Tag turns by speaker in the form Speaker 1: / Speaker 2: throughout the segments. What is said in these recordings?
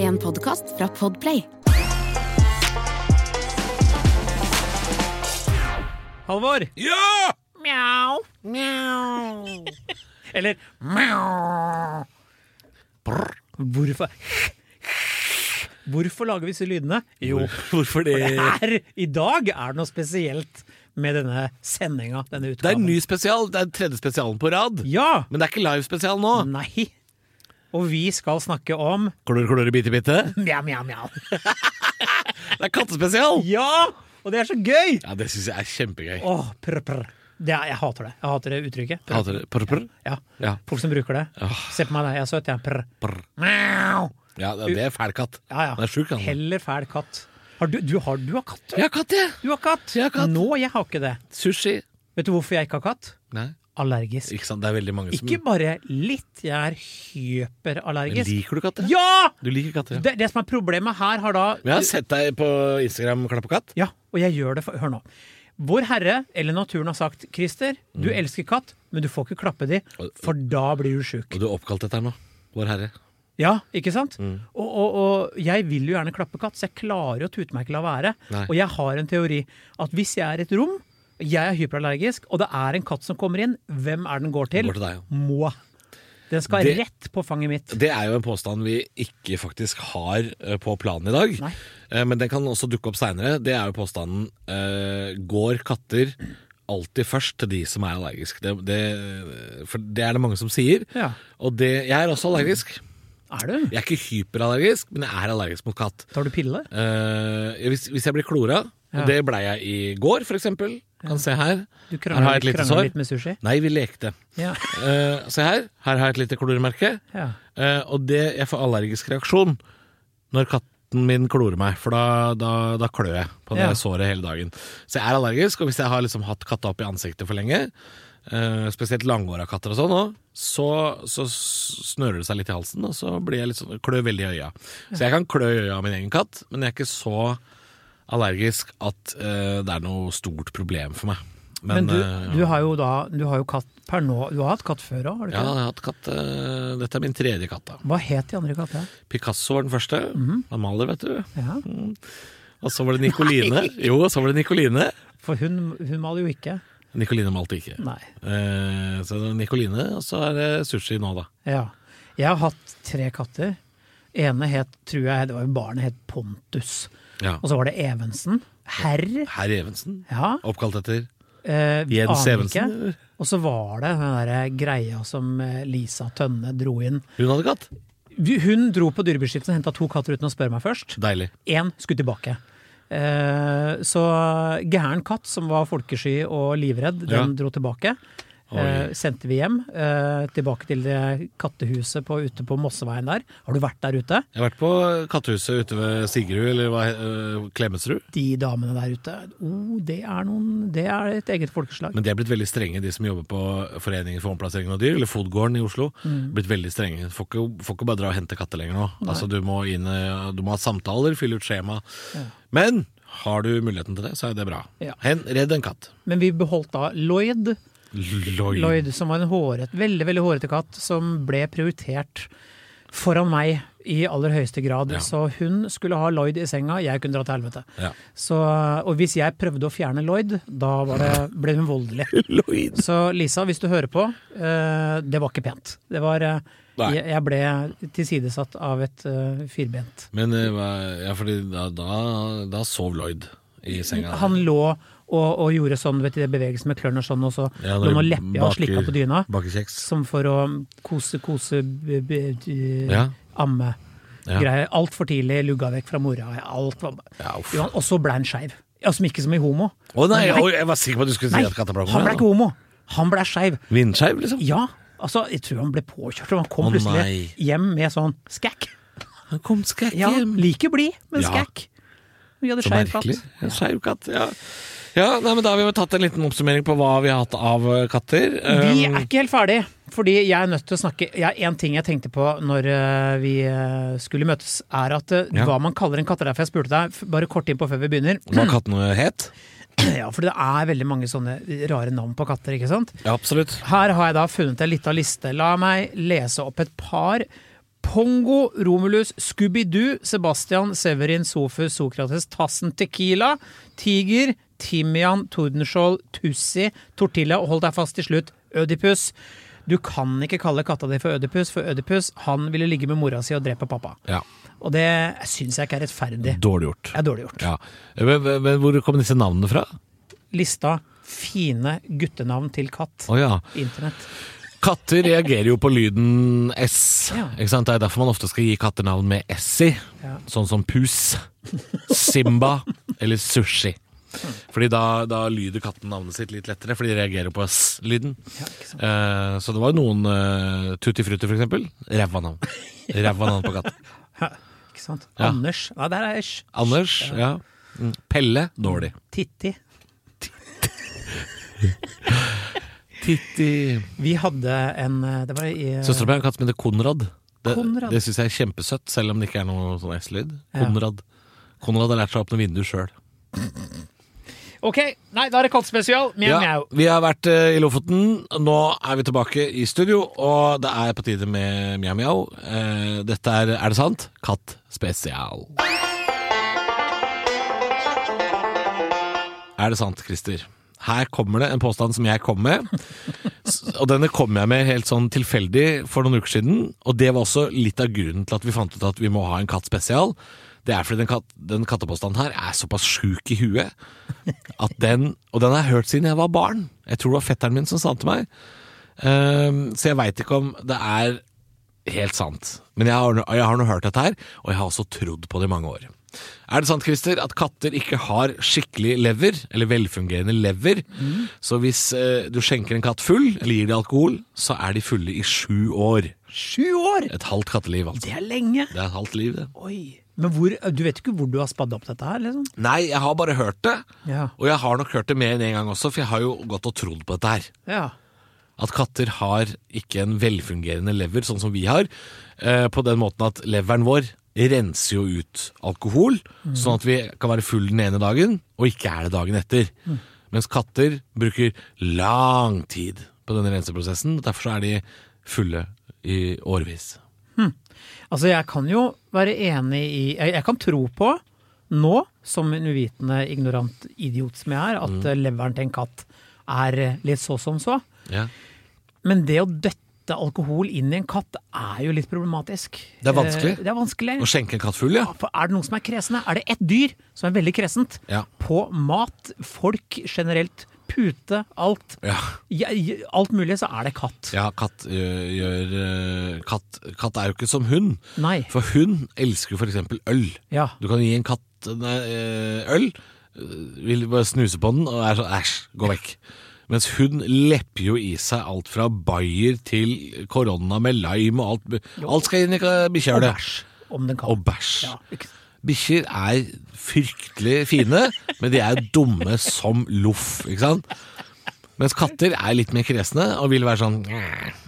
Speaker 1: en podkast fra Podplay.
Speaker 2: Halvor!
Speaker 3: Ja!
Speaker 2: Mjau! Eller mjau. Hvorfor Hvorfor lager vi disse lydene? Jo,
Speaker 3: Hvorfor det?
Speaker 2: det er, i dag er det noe spesielt med denne sendinga. Denne
Speaker 3: Det er en
Speaker 2: utgaven.
Speaker 3: ny spesial. Det er den tredje spesialen på rad.
Speaker 2: Ja!
Speaker 3: Men det er ikke live-spesial nå.
Speaker 2: Nei. Og vi skal snakke om
Speaker 3: Klør, klør, bite, bite.
Speaker 2: mjau, mjau, mjau.
Speaker 3: Det er kattespesial!
Speaker 2: Ja! Og det er så gøy!
Speaker 3: Ja, det syns jeg er kjempegøy.
Speaker 2: Åh, prr, prr. Det er, jeg hater det. Jeg hater det uttrykket. Prr.
Speaker 3: Hater det. Prr, prr.
Speaker 2: Ja.
Speaker 3: Ja.
Speaker 2: Folk som bruker det.
Speaker 3: Åh.
Speaker 2: Se på meg, da. Jeg er søt, jeg. Prr.
Speaker 3: Prr.
Speaker 2: Mjau.
Speaker 3: Ja, det er fæl katt.
Speaker 2: Ja, ja.
Speaker 3: Den er sjuk, han.
Speaker 2: Heller fæl katt. Har du, du, har, du har katt, du.
Speaker 3: Jeg har katt, jeg.
Speaker 2: Du har katt.
Speaker 3: Jeg har katt.
Speaker 2: Nå, jeg har ikke det.
Speaker 3: Sushi.
Speaker 2: Vet du hvorfor jeg ikke har katt?
Speaker 3: Nei,
Speaker 2: Allergisk.
Speaker 3: ikke sant. Det er veldig mange som
Speaker 2: Ikke bare litt, jeg er
Speaker 3: Men
Speaker 2: hyperallergisk.
Speaker 3: Liker du katter?
Speaker 2: Ja!
Speaker 3: Du liker katter, ja.
Speaker 2: Det, det som er problemet her, har da
Speaker 3: Men Jeg har sett deg på Instagram klappe katt.
Speaker 2: Ja, og jeg gjør det for Hør nå. Vår Herre, eller naturen, har sagt Christer, du
Speaker 3: Mm.
Speaker 2: elsker katt, men du får ikke klappe de, for da blir du sjuk.
Speaker 3: Og du er oppkalt etter nå. Vår Herre.
Speaker 2: Ja, ikke sant?
Speaker 3: Mm.
Speaker 2: Og, og, og jeg vil jo gjerne klappe katt, så jeg klarer jo å tute meg ikke la være.
Speaker 3: Nei.
Speaker 2: Og jeg har en teori at hvis jeg er i et rom, jeg er hyperallergisk, og det er en katt som kommer inn, hvem er den går til?
Speaker 3: Den går til deg, ja.
Speaker 2: Må. Den skal
Speaker 3: Det-
Speaker 2: rett på fanget mitt.
Speaker 3: Det er jo en påstand vi ikke faktisk har eh, på planen i dag.
Speaker 2: Nei.
Speaker 3: Eh, Men den kan også dukke opp seinere. Det er jo påstanden eh, Går katter alltid først til de som er allergiske? Det, det, for det er det mange som sier.
Speaker 2: Ja.
Speaker 3: Og det, jeg er også allergisk.
Speaker 2: Er du?
Speaker 3: Jeg er ikke hyperallergisk, men jeg er allergisk mot katt.
Speaker 2: Tar du piller?
Speaker 3: Eh, hvis, hvis jeg blir klora,
Speaker 2: Ja.
Speaker 3: og det blei jeg i går for eksempel Kan se her.
Speaker 2: Du
Speaker 3: Her har
Speaker 2: krangler
Speaker 3: jeg et lite
Speaker 2: krangler
Speaker 3: sår.
Speaker 2: litt med sushi?
Speaker 3: Nei, vi lekte.
Speaker 2: Ja.
Speaker 3: Eh, se her. Her har jeg et lite kloremerke.
Speaker 2: ja.
Speaker 3: Eh, og det, jeg får allergisk reaksjon når katten min klorer meg, for da, da, da klør jeg på det
Speaker 2: Ja.
Speaker 3: såret hele dagen. Så jeg er allergisk, og hvis jeg har liksom hatt katta opp i ansiktet for lenge, eh, spesielt langhåra katter og sånn, også, så, så snører det seg litt i halsen, og så blir jeg litt sånn, klør veldig i øya. Så jeg kan klø i øya av min egen katt, men jeg er ikke så allergisk at eh, det er noe stort problem for meg.
Speaker 2: Men, du,
Speaker 3: eh,
Speaker 2: du har jo da Du har jo katt per nå Du har hatt katt før òg, har du
Speaker 3: ja,
Speaker 2: ikke?
Speaker 3: jeg har hatt katt. eh, Dette er min tredje katt. da.
Speaker 2: Hva het de andre kattene?
Speaker 3: Picasso var den første.
Speaker 2: Mhm.
Speaker 3: Han maler, vet du.
Speaker 2: Ja.
Speaker 3: Og så var det Nicoline. Jo, og så var det Nicoline.
Speaker 2: For hun, hun maler jo ikke.
Speaker 3: Nicoline malte ikke.
Speaker 2: Nei.
Speaker 3: Eh, så det er Nicoline, og så er det sushi nå, da.
Speaker 2: Ja. Jeg har hatt tre katter. Ene het, tror jeg, det var jo barnet, het Pontus.
Speaker 3: Ja.
Speaker 2: Og så var det Evensen. Herr.
Speaker 3: Herr Evensen.
Speaker 2: Ja.
Speaker 3: Oppkalt etter
Speaker 2: Eh, vi
Speaker 3: Jens
Speaker 2: aner
Speaker 3: Evensen.
Speaker 2: ikke.
Speaker 3: eller?
Speaker 2: Og så var det den der greia som eh, Lisa Tønne dro inn.
Speaker 3: Hun hadde katt.
Speaker 2: Vi- Hun dro på Dyrebeskyttelsen og henta to katter uten å spørre meg først.
Speaker 3: Deilig.
Speaker 2: Én skulle tilbake. Eh, så gæren katt som var folkesky og livredd,
Speaker 3: Ja.
Speaker 2: den dro tilbake. Eh, sendte vi hjem. Eh, tilbake til det kattehuset på, ute på Mosseveien der. Har du vært der ute?
Speaker 3: Jeg har vært på kattehuset ute ved Sigrud, eller hva, eh, Klemetsrud.
Speaker 2: De damene der ute, oh, det, er noen, det er et eget folkeslag.
Speaker 3: Men de er blitt veldig strenge, de som jobber på Foreningen for omplassering av dyr, eller Fodgården i Oslo.
Speaker 2: Mm.
Speaker 3: Blitt veldig strenge. Får ikke, får ikke bare dra og hente katter lenger nå. Altså, du, må inn, eh, du må ha samtaler, fylle ut skjema. Men har du muligheten til det, så er det bra.
Speaker 2: Ja.
Speaker 3: Hen, redd en katt.
Speaker 2: Men vi beholdt da Lloyd,
Speaker 3: Lloyd.
Speaker 2: Lloyd som var en håret, veldig veldig hårete katt, som ble prioritert foran meg i aller høyeste grad.
Speaker 3: Ja.
Speaker 2: Så hun skulle ha Lloyd i senga, jeg kunne dra til helvete.
Speaker 3: Ja.
Speaker 2: Så, og hvis jeg prøvde å fjerne Lloyd, da var det, ble hun voldelig.
Speaker 3: Lloyd.
Speaker 2: Så Lisa, hvis du hører på, eh, det var ikke pent. Det var eh,
Speaker 3: Nei.
Speaker 2: jeg, jeg ble tilsidesatt av et eh, firbent.
Speaker 3: Men eh, hva- ja, fordi da, da, da sov Lloyd i senga.
Speaker 2: Han lå og, og gjorde sånn, vet du, det bevegelsen med klørne og sånn, og så
Speaker 3: Ja,
Speaker 2: lå
Speaker 3: når
Speaker 2: han og
Speaker 3: de
Speaker 2: leppa og slikka
Speaker 3: baker-
Speaker 2: på dyna.
Speaker 3: Baker kjeks.
Speaker 2: Som for å kose, kose, b, b, d-
Speaker 3: Ja.
Speaker 2: amme.
Speaker 3: Ja.
Speaker 2: Greier. Altfor tidlig lugga vekk fra mora. Alt var
Speaker 3: Ja, uff.
Speaker 2: Jo, han- Og så ble han skeiv. Altså, ikke som i homo.
Speaker 3: Å nei, oi, jeg var sikker på at du skulle si
Speaker 2: Nei,
Speaker 3: at katta ble
Speaker 2: han ble ikke homo. Han ble skeiv.
Speaker 3: Vindskeiv, liksom?
Speaker 2: Ja, altså, jeg tror han ble påkjørt, og han kom
Speaker 3: Å,
Speaker 2: plutselig
Speaker 3: nei.
Speaker 2: hjem med sånn skækk.
Speaker 3: Han kom skrekk
Speaker 2: Ja, like blid, men
Speaker 3: Ja.
Speaker 2: skækk. Vi hadde
Speaker 3: Så
Speaker 2: skeiv
Speaker 3: merkelig.
Speaker 2: katt.
Speaker 3: En skeiv katt, ja. ja nei, men da har vi jo tatt en liten oppsummering på hva vi har hatt av eh, katter.
Speaker 2: Vi
Speaker 3: Um,
Speaker 2: er ikke helt ferdig, fordi jeg er nødt til å snakke Jeg har en ting jeg tenkte på når eh, vi eh, skulle møtes, er at eh,
Speaker 3: Ja.
Speaker 2: hva man kaller en katt er derfor jeg spurte deg, f- bare kort innpå før vi begynner.
Speaker 3: Hva kattene het?
Speaker 2: Ja, for det er veldig mange sånne rare navn på katter, ikke sant?
Speaker 3: Ja, absolutt.
Speaker 2: Her har jeg da funnet en lita liste. La meg lese opp et par Pongo, Romulus, Scooby-Doo, Sebastian, Severin, Sofus, Sokrates, Tassen, Tequila, Tiger, Timian, Tordenskjold, Tussi, Tortilla og hold deg fast til slutt, Ødipus. Du kan ikke kalle katta di for Ødipus, for Ødipus han ville ligge med mora si og drepe pappa.
Speaker 3: Ja,
Speaker 2: Og det syns jeg ikke er rettferdig.
Speaker 3: Dårlig gjort.
Speaker 2: Det er dårlig gjort.
Speaker 3: Ja. Eh, Men, men- men hvor kom disse navnene fra?
Speaker 2: Lista fine guttenavn til katt.
Speaker 3: Å ja.
Speaker 2: Internett.
Speaker 3: Katter reagerer jo på lyden S.
Speaker 2: Ja.
Speaker 3: Ikke sant? Det er derfor man ofte skal gi kattenavn med S i.
Speaker 2: Ja.
Speaker 3: Sånn som pus, Simba eller sushi.
Speaker 2: Mm.
Speaker 3: Fordi da, da lyder katten navnet sitt litt lettere, for de reagerer på S-lyden.
Speaker 2: Ja, ikke sant.
Speaker 3: Eh, så det var jo noen eh, Tutti Frutti, for eksempel. Ræva navn. Ræva navn på katten.
Speaker 2: Ikke sant?
Speaker 3: Ja.
Speaker 2: Anders. Nei, der er æsj.
Speaker 3: Anders, ja. Mm. Pelle, dårlig.
Speaker 2: Titti.
Speaker 3: Titti
Speaker 2: Vi hadde en eh, Det var i eh,
Speaker 3: Søstera mi har en katt som heter Konrad. Det,
Speaker 2: Konrad.
Speaker 3: det syns jeg er kjempesøtt, selv om det ikke er noe sånn S-lyd.
Speaker 2: Ja.
Speaker 3: Konrad. Konrad har lært seg å åpne vinduer sjøl.
Speaker 2: Ok, nei, da er det kattspesial. Mjau,
Speaker 3: Ja,
Speaker 2: mjau.
Speaker 3: vi har vært eh, i Lofoten. Nå er vi tilbake i studio, og det er på tide med mjau, mjau. Eh, Dette er Er det sant? Katt spesial. Er det sant, Christer? Her kommer det en påstand som jeg kom med. S- Og denne kom jeg med helt sånn tilfeldig for noen uker siden. Og det var også litt av grunnen til at vi fant ut at vi må ha en katt spesial. Det er fordi den, kat den kattepåstanden her er såpass sjuk i huet at den Og den har jeg hørt siden jeg var barn. Jeg tror det var fetteren min som sa den til meg. Ehm, så jeg veit ikke om det er helt sant. Men jeg har, jeg har nå hørt dette her, og jeg har også trodd på det i mange år. Er det sant Christer, at katter ikke har skikkelig lever, eller velfungerende lever? Så hvis eh, du skjenker en katt full, eller gir de alkohol, så er de fulle i sju år.
Speaker 2: Sju år!
Speaker 3: Et halvt katteliv, altså.
Speaker 2: Det er lenge.
Speaker 3: Det er et halvt liv, det.
Speaker 2: Oi. Men hvor, du vet ikke hvor du har spadd opp dette her, liksom?
Speaker 3: Nei, jeg har bare hørt det.
Speaker 2: Ja.
Speaker 3: Og jeg har nok hørt det mer enn én gang også, for jeg har jo gått og trodd på dette her.
Speaker 2: Ja.
Speaker 3: at katter har ikke en velfungerende lever, sånn som vi har, eh, på den måten at leveren vår renser jo ut alkohol, sånn at vi kan være full den ene dagen, og ikke er det dagen etter. Mens katter bruker lang tid på denne renseprosessen, og derfor så er de fulle i årevis.
Speaker 2: Altså, jeg kan jo være enig i Jeg, jeg kan tro på, nå, som en uvitende, ignorant idiot som jeg er, at
Speaker 3: Mm.
Speaker 2: eh, leveren til en katt er eh, litt så som så.
Speaker 3: Ja.
Speaker 2: Men det å døtte alkohol inn i en katt er jo litt problematisk.
Speaker 3: Det er vanskelig.
Speaker 2: Eh, Det er vanskelig.
Speaker 3: Å skjenke en katt full, ja.
Speaker 2: For er det noen som er kresne? Er det ett dyr som er veldig kresent?
Speaker 3: Ja.
Speaker 2: På mat, folk generelt, pute, alt.
Speaker 3: Ja,
Speaker 2: Ja, i- alt mulig, så er det katt.
Speaker 3: ja katt, ø, gjør, ø, katt, katt er jo ikke som hund.
Speaker 2: Nei.
Speaker 3: For hun elsker jo for eksempel øl.
Speaker 2: Ja.
Speaker 3: Du kan gi en katt en, eh, øl, eh, vil bare snuse på den og er sånn æsj, gå vekk. Mens hun lepper jo i seg alt fra bayer til korona med lime og alt. Alt skal inn i ka-
Speaker 2: Og
Speaker 3: bikkjehølet.
Speaker 2: bæsj. Om den kan.
Speaker 3: Og bæsj.
Speaker 2: Ja, ikke-
Speaker 3: Bikkjer er fryktelig fine, men de er dumme som loff, ikke sant? Mens katter er litt mer kresne og vil være sånn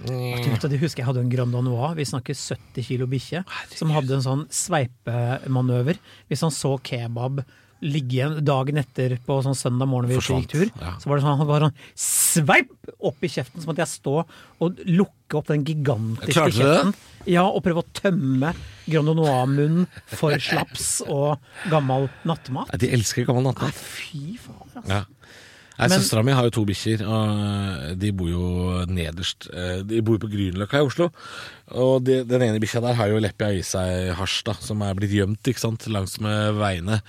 Speaker 2: Du vet, jeg husker jeg hadde en Grand Danois, vi snakker 70 kilo bikkje, som hadde en sånn sveipemanøver. Hvis han så kebab ligge igjen dagen etter på sånn søndag morgen vi
Speaker 3: Forsvant,
Speaker 2: gikk tur,
Speaker 3: ja.
Speaker 2: så var det sånn, han var sånn sveip opp i kjeften, så måtte jeg stå og lukke opp den gigantiske
Speaker 3: Klarte du det?
Speaker 2: kjeften. Ja, og prøve å tømme Grand Danois-munnen for slaps og gammel nattemat.
Speaker 3: De elsker gammel nattmat.
Speaker 2: Fy faen, altså.
Speaker 3: Ja. Nei,
Speaker 2: Men-
Speaker 3: Søstera mi har jo to bikkjer, og eh, de bor jo nederst eh, De bor jo på Grünerløkka i Oslo. Og de, den ene bikkja der har jo leppa i seg hasj, da, som er blitt gjemt ikke sant, langs med veiene.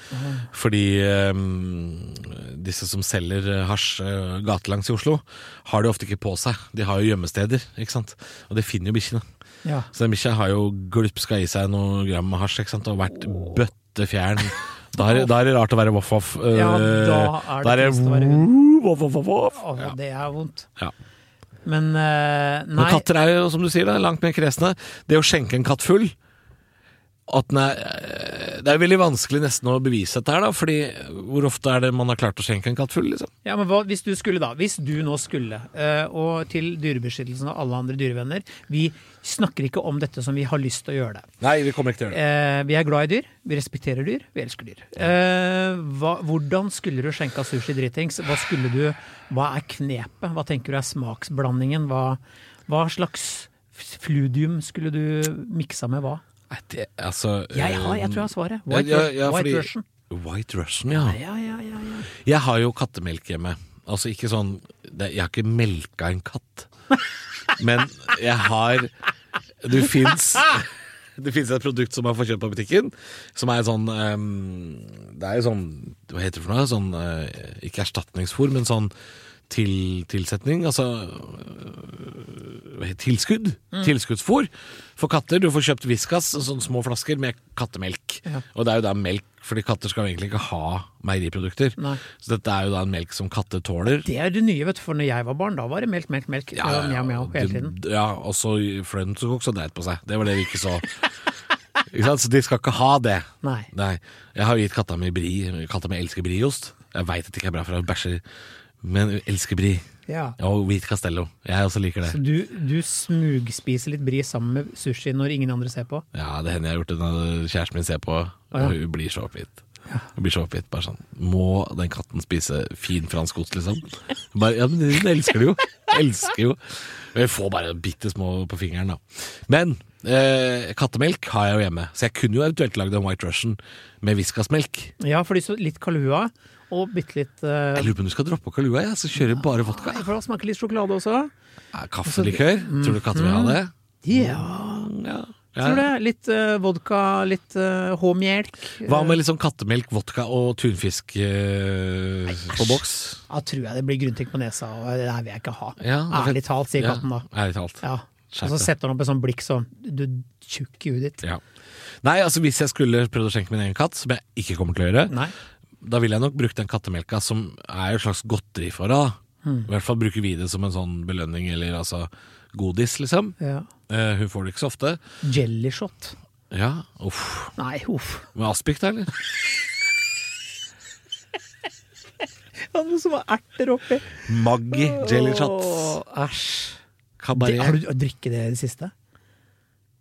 Speaker 3: Fordi eh, disse som selger eh, hasj eh, gatelangs i Oslo, har det ofte ikke på seg. De har jo gjemmesteder, ikke sant. Og det finner jo bikkjene.
Speaker 2: Ja.
Speaker 3: Så den bikkja har jo glupska i seg noe gram med hasj ikke sant? og vært bøttefjern. Da er, da er det rart å være voff-voff. eh,
Speaker 2: Ja, da er det trist å være
Speaker 3: voff, voff, voff, voff.
Speaker 2: Å, Det er vondt.
Speaker 3: Ja.
Speaker 2: Men eh, nei.
Speaker 3: Men katter er jo, som du sier, da, langt mer kresne. Det å skjenke en katt full at den er, eh, Det er veldig vanskelig nesten å bevise dette her, da. Fordi hvor ofte er det man har klart å skjenke en katt full, liksom?
Speaker 2: Ja, men hva, Hvis du skulle da, hvis du nå skulle, eh, og til Dyrebeskyttelsen og alle andre dyrevenner Vi snakker ikke om dette som vi har lyst til å gjøre det.
Speaker 3: Nei, vi kommer ikke til å gjøre det.
Speaker 2: Eh, vi er glad i dyr, vi respekterer dyr, vi elsker dyr. Eh, hva, hvordan skulle du skjenka sushi dritings? Hva skulle du, hva er knepet? Hva tenker du er smaksblandingen? Hva, hva slags Fludium skulle du miksa med hva?
Speaker 3: Nei, det, altså
Speaker 2: Jeg, har, jeg tror jeg har svaret. White,
Speaker 3: ja,
Speaker 2: Rus-
Speaker 3: ja,
Speaker 2: White
Speaker 3: fordi-
Speaker 2: Russian.
Speaker 3: White Russian, ja.
Speaker 2: Ja, ja, ja, ja.
Speaker 3: Jeg har jo kattemelk hjemme. Altså ikke sånn det, Jeg har ikke melka en katt. Men jeg har Du fins Det fins et produkt som man får kjøpt på butikken, som er sånn ehm, Det er jo sånn Hva heter det for noe? Sånn eh, Ikke erstatningsfôr, men sånn til, tilsetning. Altså øh, hva heter- tilskudd.
Speaker 2: Mm.
Speaker 3: Tilskuddsfôr for katter. Du får kjøpt Viskas, sånne små flasker med kattemelk.
Speaker 2: Ja.
Speaker 3: Og det er jo da melk, fordi katter skal jo egentlig ikke ha meieriprodukter.
Speaker 2: Nei.
Speaker 3: Så dette er jo da en melk som katter tåler.
Speaker 2: Det er det nye, vet du. For når jeg var barn, da var det melk, melk, melk. Ja, mjau, mjau, hele tiden.
Speaker 3: d- ja og så Friends og også dreit på seg. Det var det vi ikke så. ikke sant? Så de skal ikke ha det.
Speaker 2: Nei.
Speaker 3: Jeg har jo gitt katta mi bri. Katta mi elsker brieost. Jeg veit at det ikke er bra for hun bæsjer, men hun elsker bri.
Speaker 2: Ja.
Speaker 3: Og hvit castello. Jeg også liker
Speaker 2: Så
Speaker 3: det.
Speaker 2: du, du smugspiser litt bris sammen med sushi når ingen andre ser på?
Speaker 3: Ja, Det hender jeg har gjort det når kjæresten min ser på, og
Speaker 2: ja.
Speaker 3: hun blir så oppgitt. Hun blir så oppgitt. Bare sånn Må den katten spise fin fransk ost, liksom? Bare, ja, men Hun elsker det jo. Elsker jo. Men Jeg får bare bitte små på fingeren, da. Men eh, kattemelk har jeg jo hjemme, så jeg kunne jo eventuelt lagd en White Russian med Viscas-melk.
Speaker 2: Ja, for de så litt kalua og bitte litt eh,
Speaker 3: Jeg lurer på om du skal droppe kalua, jeg, så kjører jeg bare vodka. jeg.
Speaker 2: For da smaker litt sjokolade også.
Speaker 3: Ja,
Speaker 2: Altså,
Speaker 3: Kaffelikør? Tror du katter vil ha det?
Speaker 2: Ja,
Speaker 3: Ja.
Speaker 2: Mm. tror du
Speaker 3: ja.
Speaker 2: det? Litt eh, vodka, litt eh, H-melk.
Speaker 3: Hva med liksom kattemelk, vodka og tunfisk eh, på boks?
Speaker 2: Da tror jeg det blir grunntrekk på nesa, og det her vil jeg ikke ha.
Speaker 3: Ja, det-
Speaker 2: Ærlig talt, sier katten da.
Speaker 3: Ja, ærlig talt.
Speaker 2: Ja. Og
Speaker 3: Skjerp
Speaker 2: så
Speaker 3: deg.
Speaker 2: setter han opp et sånt blikk sånn, du tjukk i huet ditt.
Speaker 3: Ja. Nei, altså hvis jeg skulle prøvd å skjenke min egen katt, som jeg ikke kommer til å gjøre,
Speaker 2: Nei.
Speaker 3: da ville jeg nok brukt den kattemelka som er jo et slags godteri for henne. da.
Speaker 2: Hmm.
Speaker 3: I hvert fall bruker vi det som en sånn belønning, eller altså godis, liksom.
Speaker 2: Ja.
Speaker 3: Eh, hun får det ikke så ofte.
Speaker 2: Jellyshot.
Speaker 3: Ja, uff.
Speaker 2: Nei, uff.
Speaker 3: Med aspik, da, eller?
Speaker 2: Det er noe som har erter oppi.
Speaker 3: Maggi jelly shots.
Speaker 2: Åh, Æsj. Det- Har
Speaker 3: Kabaret.
Speaker 2: du drukket det i det siste?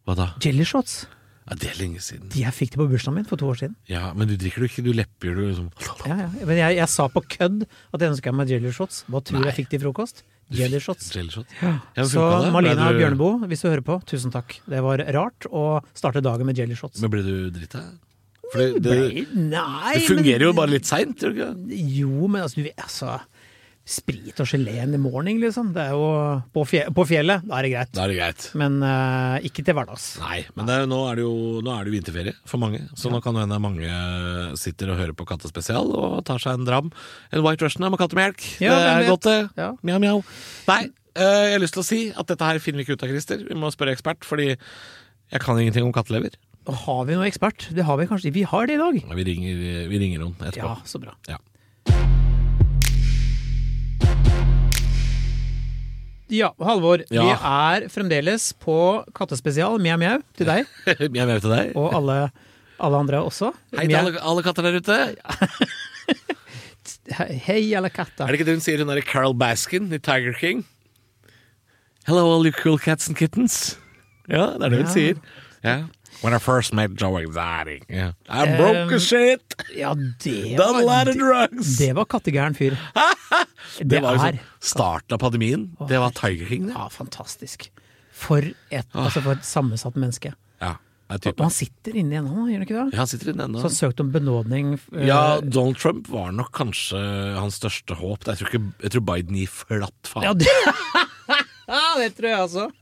Speaker 3: Hva da?
Speaker 2: Jellyshots.
Speaker 3: Ja, det er lenge siden.
Speaker 2: De jeg fikk det på bursdagen min for to år siden.
Speaker 3: Ja, Men du drikker du ikke, du lepper du liksom
Speaker 2: Ja, ja. Men jeg, jeg sa på kødd at jeg ønska meg jellyshots. Hva tror du jeg fikk til frokost? Jellyshots.
Speaker 3: jelly shot. Ja, men
Speaker 2: Så
Speaker 3: funka det?
Speaker 2: Malina
Speaker 3: Ble du-
Speaker 2: Bjørneboe, hvis du hører på, tusen takk. Det var rart å starte dagen med jellyshots.
Speaker 3: Men ble du drita? For det, det,
Speaker 2: Nei,
Speaker 3: det fungerer jo bare litt seint, gjør det ikke? det?
Speaker 2: Jo, men altså, du vet altså Sprit og gelé in the morning, liksom. Det er jo På, fje, på fjellet, da er det greit.
Speaker 3: Da er det greit.
Speaker 2: Men eh, ikke til hverdags.
Speaker 3: Nei, men det, er- nå, er det jo, nå er det jo vinterferie for mange, så nå kan det hende mange eh, sitter og hører på Kattespesial og tar seg en dram. En White Russian med kattemelk.
Speaker 2: Ja,
Speaker 3: det
Speaker 2: hvem
Speaker 3: er
Speaker 2: vet?
Speaker 3: godt, det.
Speaker 2: Ja.
Speaker 3: Mjau, mjau. Nei, eh, jeg har lyst til å si at dette her finner vi ikke ut av, Christer. Vi må spørre ekspert, fordi jeg kan ingenting om kattelever.
Speaker 2: Har vi noe ekspert? Det har vi kanskje. Vi har det i dag.
Speaker 3: Vi ringer, vi ringer henne etterpå.
Speaker 2: Ja, så bra.
Speaker 3: Ja.
Speaker 2: Ja, Halvor.
Speaker 3: Ja.
Speaker 2: Vi er fremdeles på kattespesial mjau mjau til deg
Speaker 3: Mjau, mjau til deg.
Speaker 2: og alle, alle andre også.
Speaker 3: Hei til
Speaker 2: Mjau.
Speaker 3: alle, alle katter der ute.
Speaker 2: He- Hei, alle
Speaker 3: Er
Speaker 2: katter.
Speaker 3: det ikke det hun sier, hun derre Carol Baskin i Tiger King? Hello, all you cool cats and kittens. Ja, det er det hun
Speaker 2: Ja.
Speaker 3: sier. Ja. When I first met Joe Exotic yeah. I
Speaker 2: Um,
Speaker 3: broke a shit,
Speaker 2: Ja, det
Speaker 3: done a lot
Speaker 2: var,
Speaker 3: of drugs.
Speaker 2: det var kattegæren fyr. Det
Speaker 3: var
Speaker 2: er
Speaker 3: liksom starten av pandemien. Det var Tiger King, det.
Speaker 2: ja, fantastisk. For et,
Speaker 3: Ah.
Speaker 2: altså for et sammensatt menneske.
Speaker 3: Ja, det er
Speaker 2: Og
Speaker 3: typen.
Speaker 2: han sitter inne igjen, han, gjør han ikke det?
Speaker 3: Ja, han sitter inne
Speaker 2: Så
Speaker 3: ennå.
Speaker 2: han søkte om benådning. eh,
Speaker 3: Ja, Donald Trump var nok kanskje hans største håp. Jeg tror, ikke, jeg tror Biden gir flatt faen.
Speaker 2: Ja, det, ja, det tror jeg altså.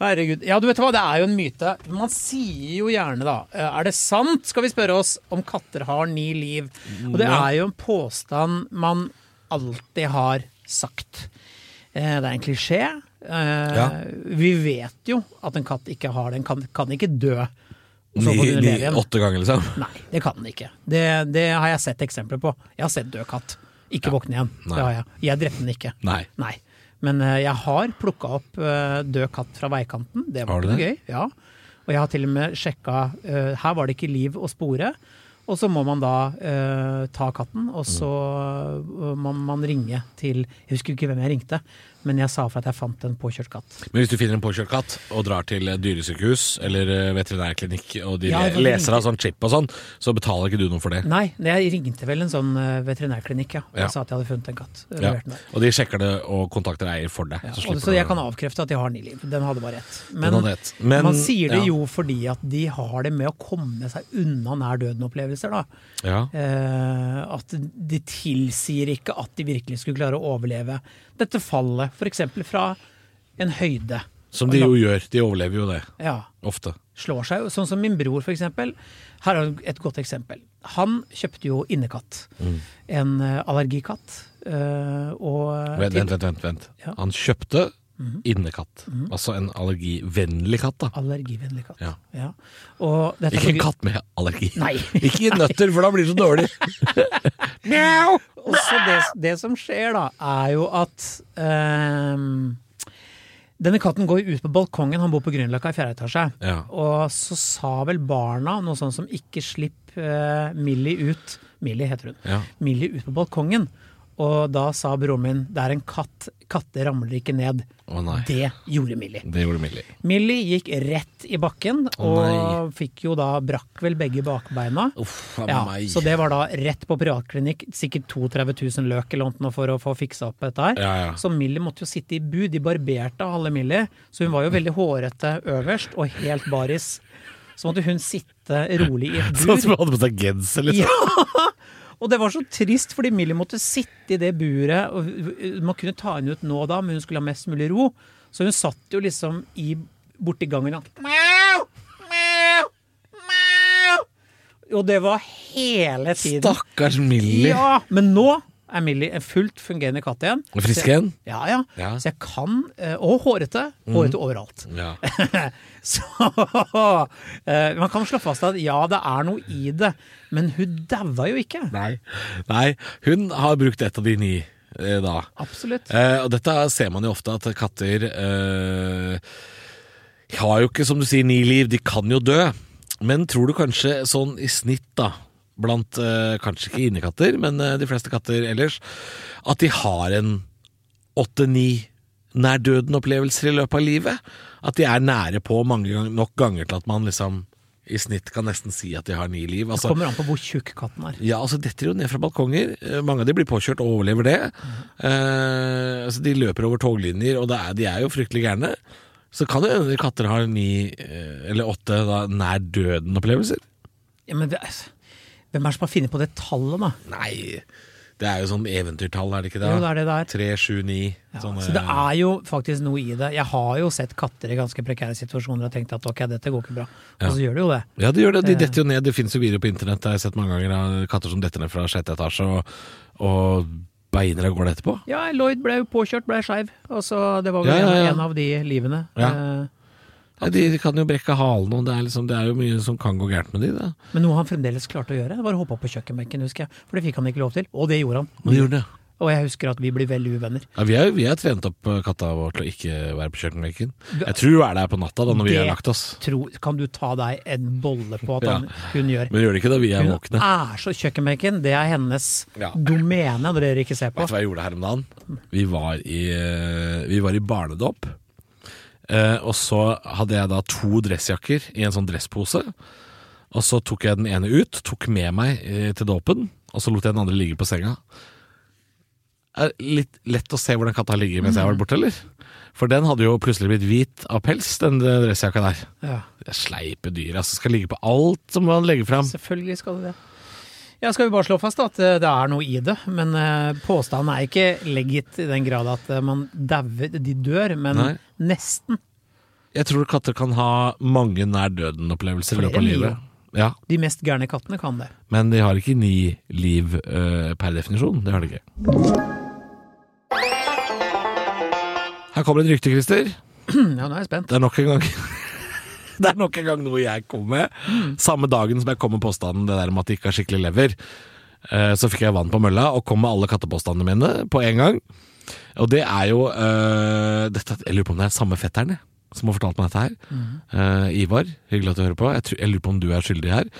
Speaker 2: Herregud. Ja, du vet hva, det er jo en myte. Man sier jo gjerne, da eh, Er det sant, skal vi spørre oss, om katter har ni liv? Og det
Speaker 3: Ja.
Speaker 2: er jo en påstand man alltid har sagt. Eh, Det er en klisjé. Eh,
Speaker 3: Ja.
Speaker 2: Vi vet jo at en katt ikke har det. En kan, kan ikke dø. og så
Speaker 3: Ni,
Speaker 2: kan den
Speaker 3: ni,
Speaker 2: leve igjen.
Speaker 3: åtte ganger, liksom.
Speaker 2: Nei, det kan den ikke. Det, det har jeg sett eksempler på. Jeg har sett død katt. Ikke våkne igjen.
Speaker 3: Nei.
Speaker 2: Det har jeg. Jeg drepte den ikke.
Speaker 3: Nei.
Speaker 2: Men eh, jeg har plukka opp eh, død katt fra veikanten. Det
Speaker 3: Har
Speaker 2: var
Speaker 3: du
Speaker 2: ikke noe gøy. Ja. Og jeg har til og med sjekka eh, Her var det ikke liv å spore. Og så må man da eh, ta katten, og så eh, må man ringe til Jeg husker ikke hvem jeg ringte, men jeg sa fra at jeg fant en påkjørt katt.
Speaker 3: Men hvis du finner en påkjørt katt og drar til et dyresykehus eller eh, veterinærklinikk, og de
Speaker 2: Ja,
Speaker 3: le-
Speaker 2: jeg får
Speaker 3: leser av sånn chip og sånn, så betaler ikke du noe for det.
Speaker 2: Nei, jeg ringte vel en sånn eh, veterinærklinikk, ja. Og
Speaker 3: Ja.
Speaker 2: sa at jeg hadde funnet en katt. og
Speaker 3: Ja.
Speaker 2: levert den der.
Speaker 3: Og de sjekker det og kontakter eier for deg.
Speaker 2: Ja,
Speaker 3: Så
Speaker 2: og
Speaker 3: slipper
Speaker 2: så
Speaker 3: du
Speaker 2: jeg kan avkrefte at de har ni liv. Den hadde bare ett.
Speaker 3: den
Speaker 2: Men,
Speaker 3: hadde hett. Men-
Speaker 2: man sier det
Speaker 3: ja.
Speaker 2: jo fordi at de har det med å komme seg unna nær døden-opplevelser, da.
Speaker 3: Ja.
Speaker 2: Eh, at de tilsier ikke at de virkelig skulle klare å overleve dette fallet, f.eks. fra en høyde.
Speaker 3: Som de jo gjør. De overlever jo det.
Speaker 2: Ja,
Speaker 3: Ofte.
Speaker 2: slår seg jo. Sånn som min bror, f.eks. Her er et godt eksempel. Han kjøpte jo innekatt.
Speaker 3: Mm.
Speaker 2: En eh, allergikatt. eh, og
Speaker 3: Vent, vent, vent. vent, vent.
Speaker 2: Ja. Mhm.
Speaker 3: Han kjøpte innekatt. Altså en allergivennlig katt, da.
Speaker 2: Allergivennlig katt.
Speaker 3: Ja.
Speaker 2: Ja. Og dette
Speaker 3: Ikke en katt med allergi.
Speaker 2: Nei.
Speaker 3: Ikke nøtter, for da blir det så dårlig. Mjau!
Speaker 2: Og så det, det som skjer da, er jo at ehm, denne katten går jo ut på balkongen, han bor på Grünerløkka i fjerde etasje.
Speaker 3: Ja.
Speaker 2: Og så sa vel barna noe sånt som 'ikke slipp eh, Millie ut'. Millie heter hun.
Speaker 3: Ja.
Speaker 2: Millie ut på balkongen. Og da sa broren min 'det er en katt, katter ramler ikke ned'.
Speaker 3: Å nei.
Speaker 2: Det gjorde Millie.
Speaker 3: Det gjorde Millie.
Speaker 2: Millie gikk rett i bakken, og fikk jo da brakk vel begge bakbeina.
Speaker 3: Uff a
Speaker 2: Ja,
Speaker 3: meg.
Speaker 2: så det var da rett på privatklinikk, sikkert 32 000 løk eller noe for å få fiksa opp dette her.
Speaker 3: Ja, ja.
Speaker 2: Så Millie måtte jo sitte i bu, de barberte halve Millie, så hun var jo veldig hårete øverst og helt baris. Så måtte hun sitte rolig i et
Speaker 3: Sånn
Speaker 2: bur.
Speaker 3: som han hadde på seg genser, liksom.
Speaker 2: Ja! Og det var så trist, fordi Millie måtte sitte i det buret. Og man kunne ta henne ut nå og da, men hun skulle ha mest mulig ro. Så hun satt jo liksom i, borti gangen og Mjau! Mjau! Mjau! Og det var hele tiden.
Speaker 3: Stakkars Millie.
Speaker 2: Ja, men nå er Millie en fullt fungerende katt igjen.
Speaker 3: Og Frisk igjen?
Speaker 2: Ja, ja.
Speaker 3: Ja. Mhm.
Speaker 2: Så jeg kan eh, Og hårete. Hårete overalt.
Speaker 3: Ja.
Speaker 2: Så eh, Man kan slå fast at ja, det er noe i det, men hun daua jo ikke.
Speaker 3: Nei. Nei. Hun har brukt et av de ni eh, da.
Speaker 2: Absolutt.
Speaker 3: Eh, og dette ser man jo ofte, at katter eh, har jo ikke, som du sier, ni liv. De kan jo dø. Men tror du kanskje sånn i snitt, da, blant eh, kanskje ikke innekatter, men eh, de fleste katter ellers, at de har en åtte-ni nær døden-opplevelser i løpet av livet? At de er nære på mange gang- nok ganger til at man liksom i snitt kan nesten si at de har ni liv. Altså,
Speaker 2: Det kommer an på hvor tjukk katten er.
Speaker 3: Ja, altså detter jo ned fra balkonger. Eh, Mange av de blir påkjørt og overlever det. Eh, altså de løper over toglinjer, og det er, de er jo fryktelig gærne. Så kan det hende katter har ni eh, eller åtte da, nær døden-opplevelser.
Speaker 2: Ja, men det, hvem er det som har funnet på det tallet, da?
Speaker 3: Nei, det er jo sånn eventyrtall, er det ikke det?
Speaker 2: Jo, det er det det er.
Speaker 3: Tre, sju, ni.
Speaker 2: Ja,
Speaker 3: sånne-
Speaker 2: så det er jo faktisk noe i det. Jeg har jo sett katter i ganske prekære situasjoner og tenkt at ok, dette går ikke bra. Og så gjør det jo det.
Speaker 3: Ja, det gjør det. De
Speaker 2: Det-
Speaker 3: detter jo ned. Det finnes jo videoer på internett det har jeg sett mange ganger av katter som detter ned fra sjette etasje, og, og beiner av gårde etterpå.
Speaker 2: Ja, Lloyd ble jo påkjørt, ble skeiv. Og så det var vel
Speaker 3: Ja, ja, ja.
Speaker 2: En, en av de livene.
Speaker 3: Ja.
Speaker 2: Eh,
Speaker 3: Ja, de kan jo brekke halen, og det er, liksom, det er jo mye som kan gå gærent med de. Da.
Speaker 2: Men noe han fremdeles klarte å gjøre, var å hoppe opp på kjøkkenbenken, husker jeg. For det fikk han ikke lov til. Og det gjorde han.
Speaker 3: Men de gjorde det.
Speaker 2: Og jeg husker at vi blir veldig uvenner.
Speaker 3: Ja, vi, har, vi har trent opp eh, katta vår til å ikke være på kjøkkenbenken. Jeg tror hun er der på natta da når vi
Speaker 2: Det-
Speaker 3: har lagt oss.
Speaker 2: Tro, kan du ta deg en bolle på at
Speaker 3: Ja.
Speaker 2: han, hun gjør?
Speaker 3: Men gjør det ikke da vi er
Speaker 2: Hun
Speaker 3: våkne.
Speaker 2: er så kjøkkenbenken. Det er hennes
Speaker 3: Ja.
Speaker 2: domene, når dere ikke ser på.
Speaker 3: Vet du hva jeg gjorde her om dagen? Vi var i, eh, vi var i barnedåp. Eh, og så hadde jeg da to dressjakker i en sånn dresspose. Og så tok jeg den ene ut, tok med meg eh, til dåpen, og så lot jeg den andre ligge på senga. Er litt lett å se hvordan katta har ligget mens jeg har vært borte, eller? For den hadde jo plutselig blitt hvit av pels, den eh, dressjakka der.
Speaker 2: Ja,
Speaker 3: Det er Sleipe dyr, altså. Skal ligge på alt som man legger fram.
Speaker 2: selvfølgelig skal du det. Ja, skal vi bare slå fast at eh, det er noe i det, men eh, påstanden er ikke legit i den grad at eh, man dauer De dør, men
Speaker 3: Nei.
Speaker 2: nesten.
Speaker 3: Jeg tror katter kan ha mange nær døden-opplevelser i
Speaker 2: Flere
Speaker 3: løpet av
Speaker 2: liv,
Speaker 3: livet. Ja,
Speaker 2: De mest gærne kattene kan det.
Speaker 3: men de har ikke ni liv eh, per definisjon. Det har de ikke. Her kommer et rykte, Christer.
Speaker 2: Hmm, Ja, nå er jeg spent.
Speaker 3: Det er nok en gang Det er nok en gang noe jeg kom med. Samme dagen som jeg kom med påstanden det der om at de ikke har skikkelig lever, eh, så fikk jeg vann på mølla og kom med alle kattepåstandene mine på en gang. Og det er jo eh, dette, Jeg lurer på om det er samme fetteren jeg, som har fortalt meg dette her. Eh, Ivar, hyggelig at du hører på. Jeg, tror, jeg lurer på om du er skyldig her.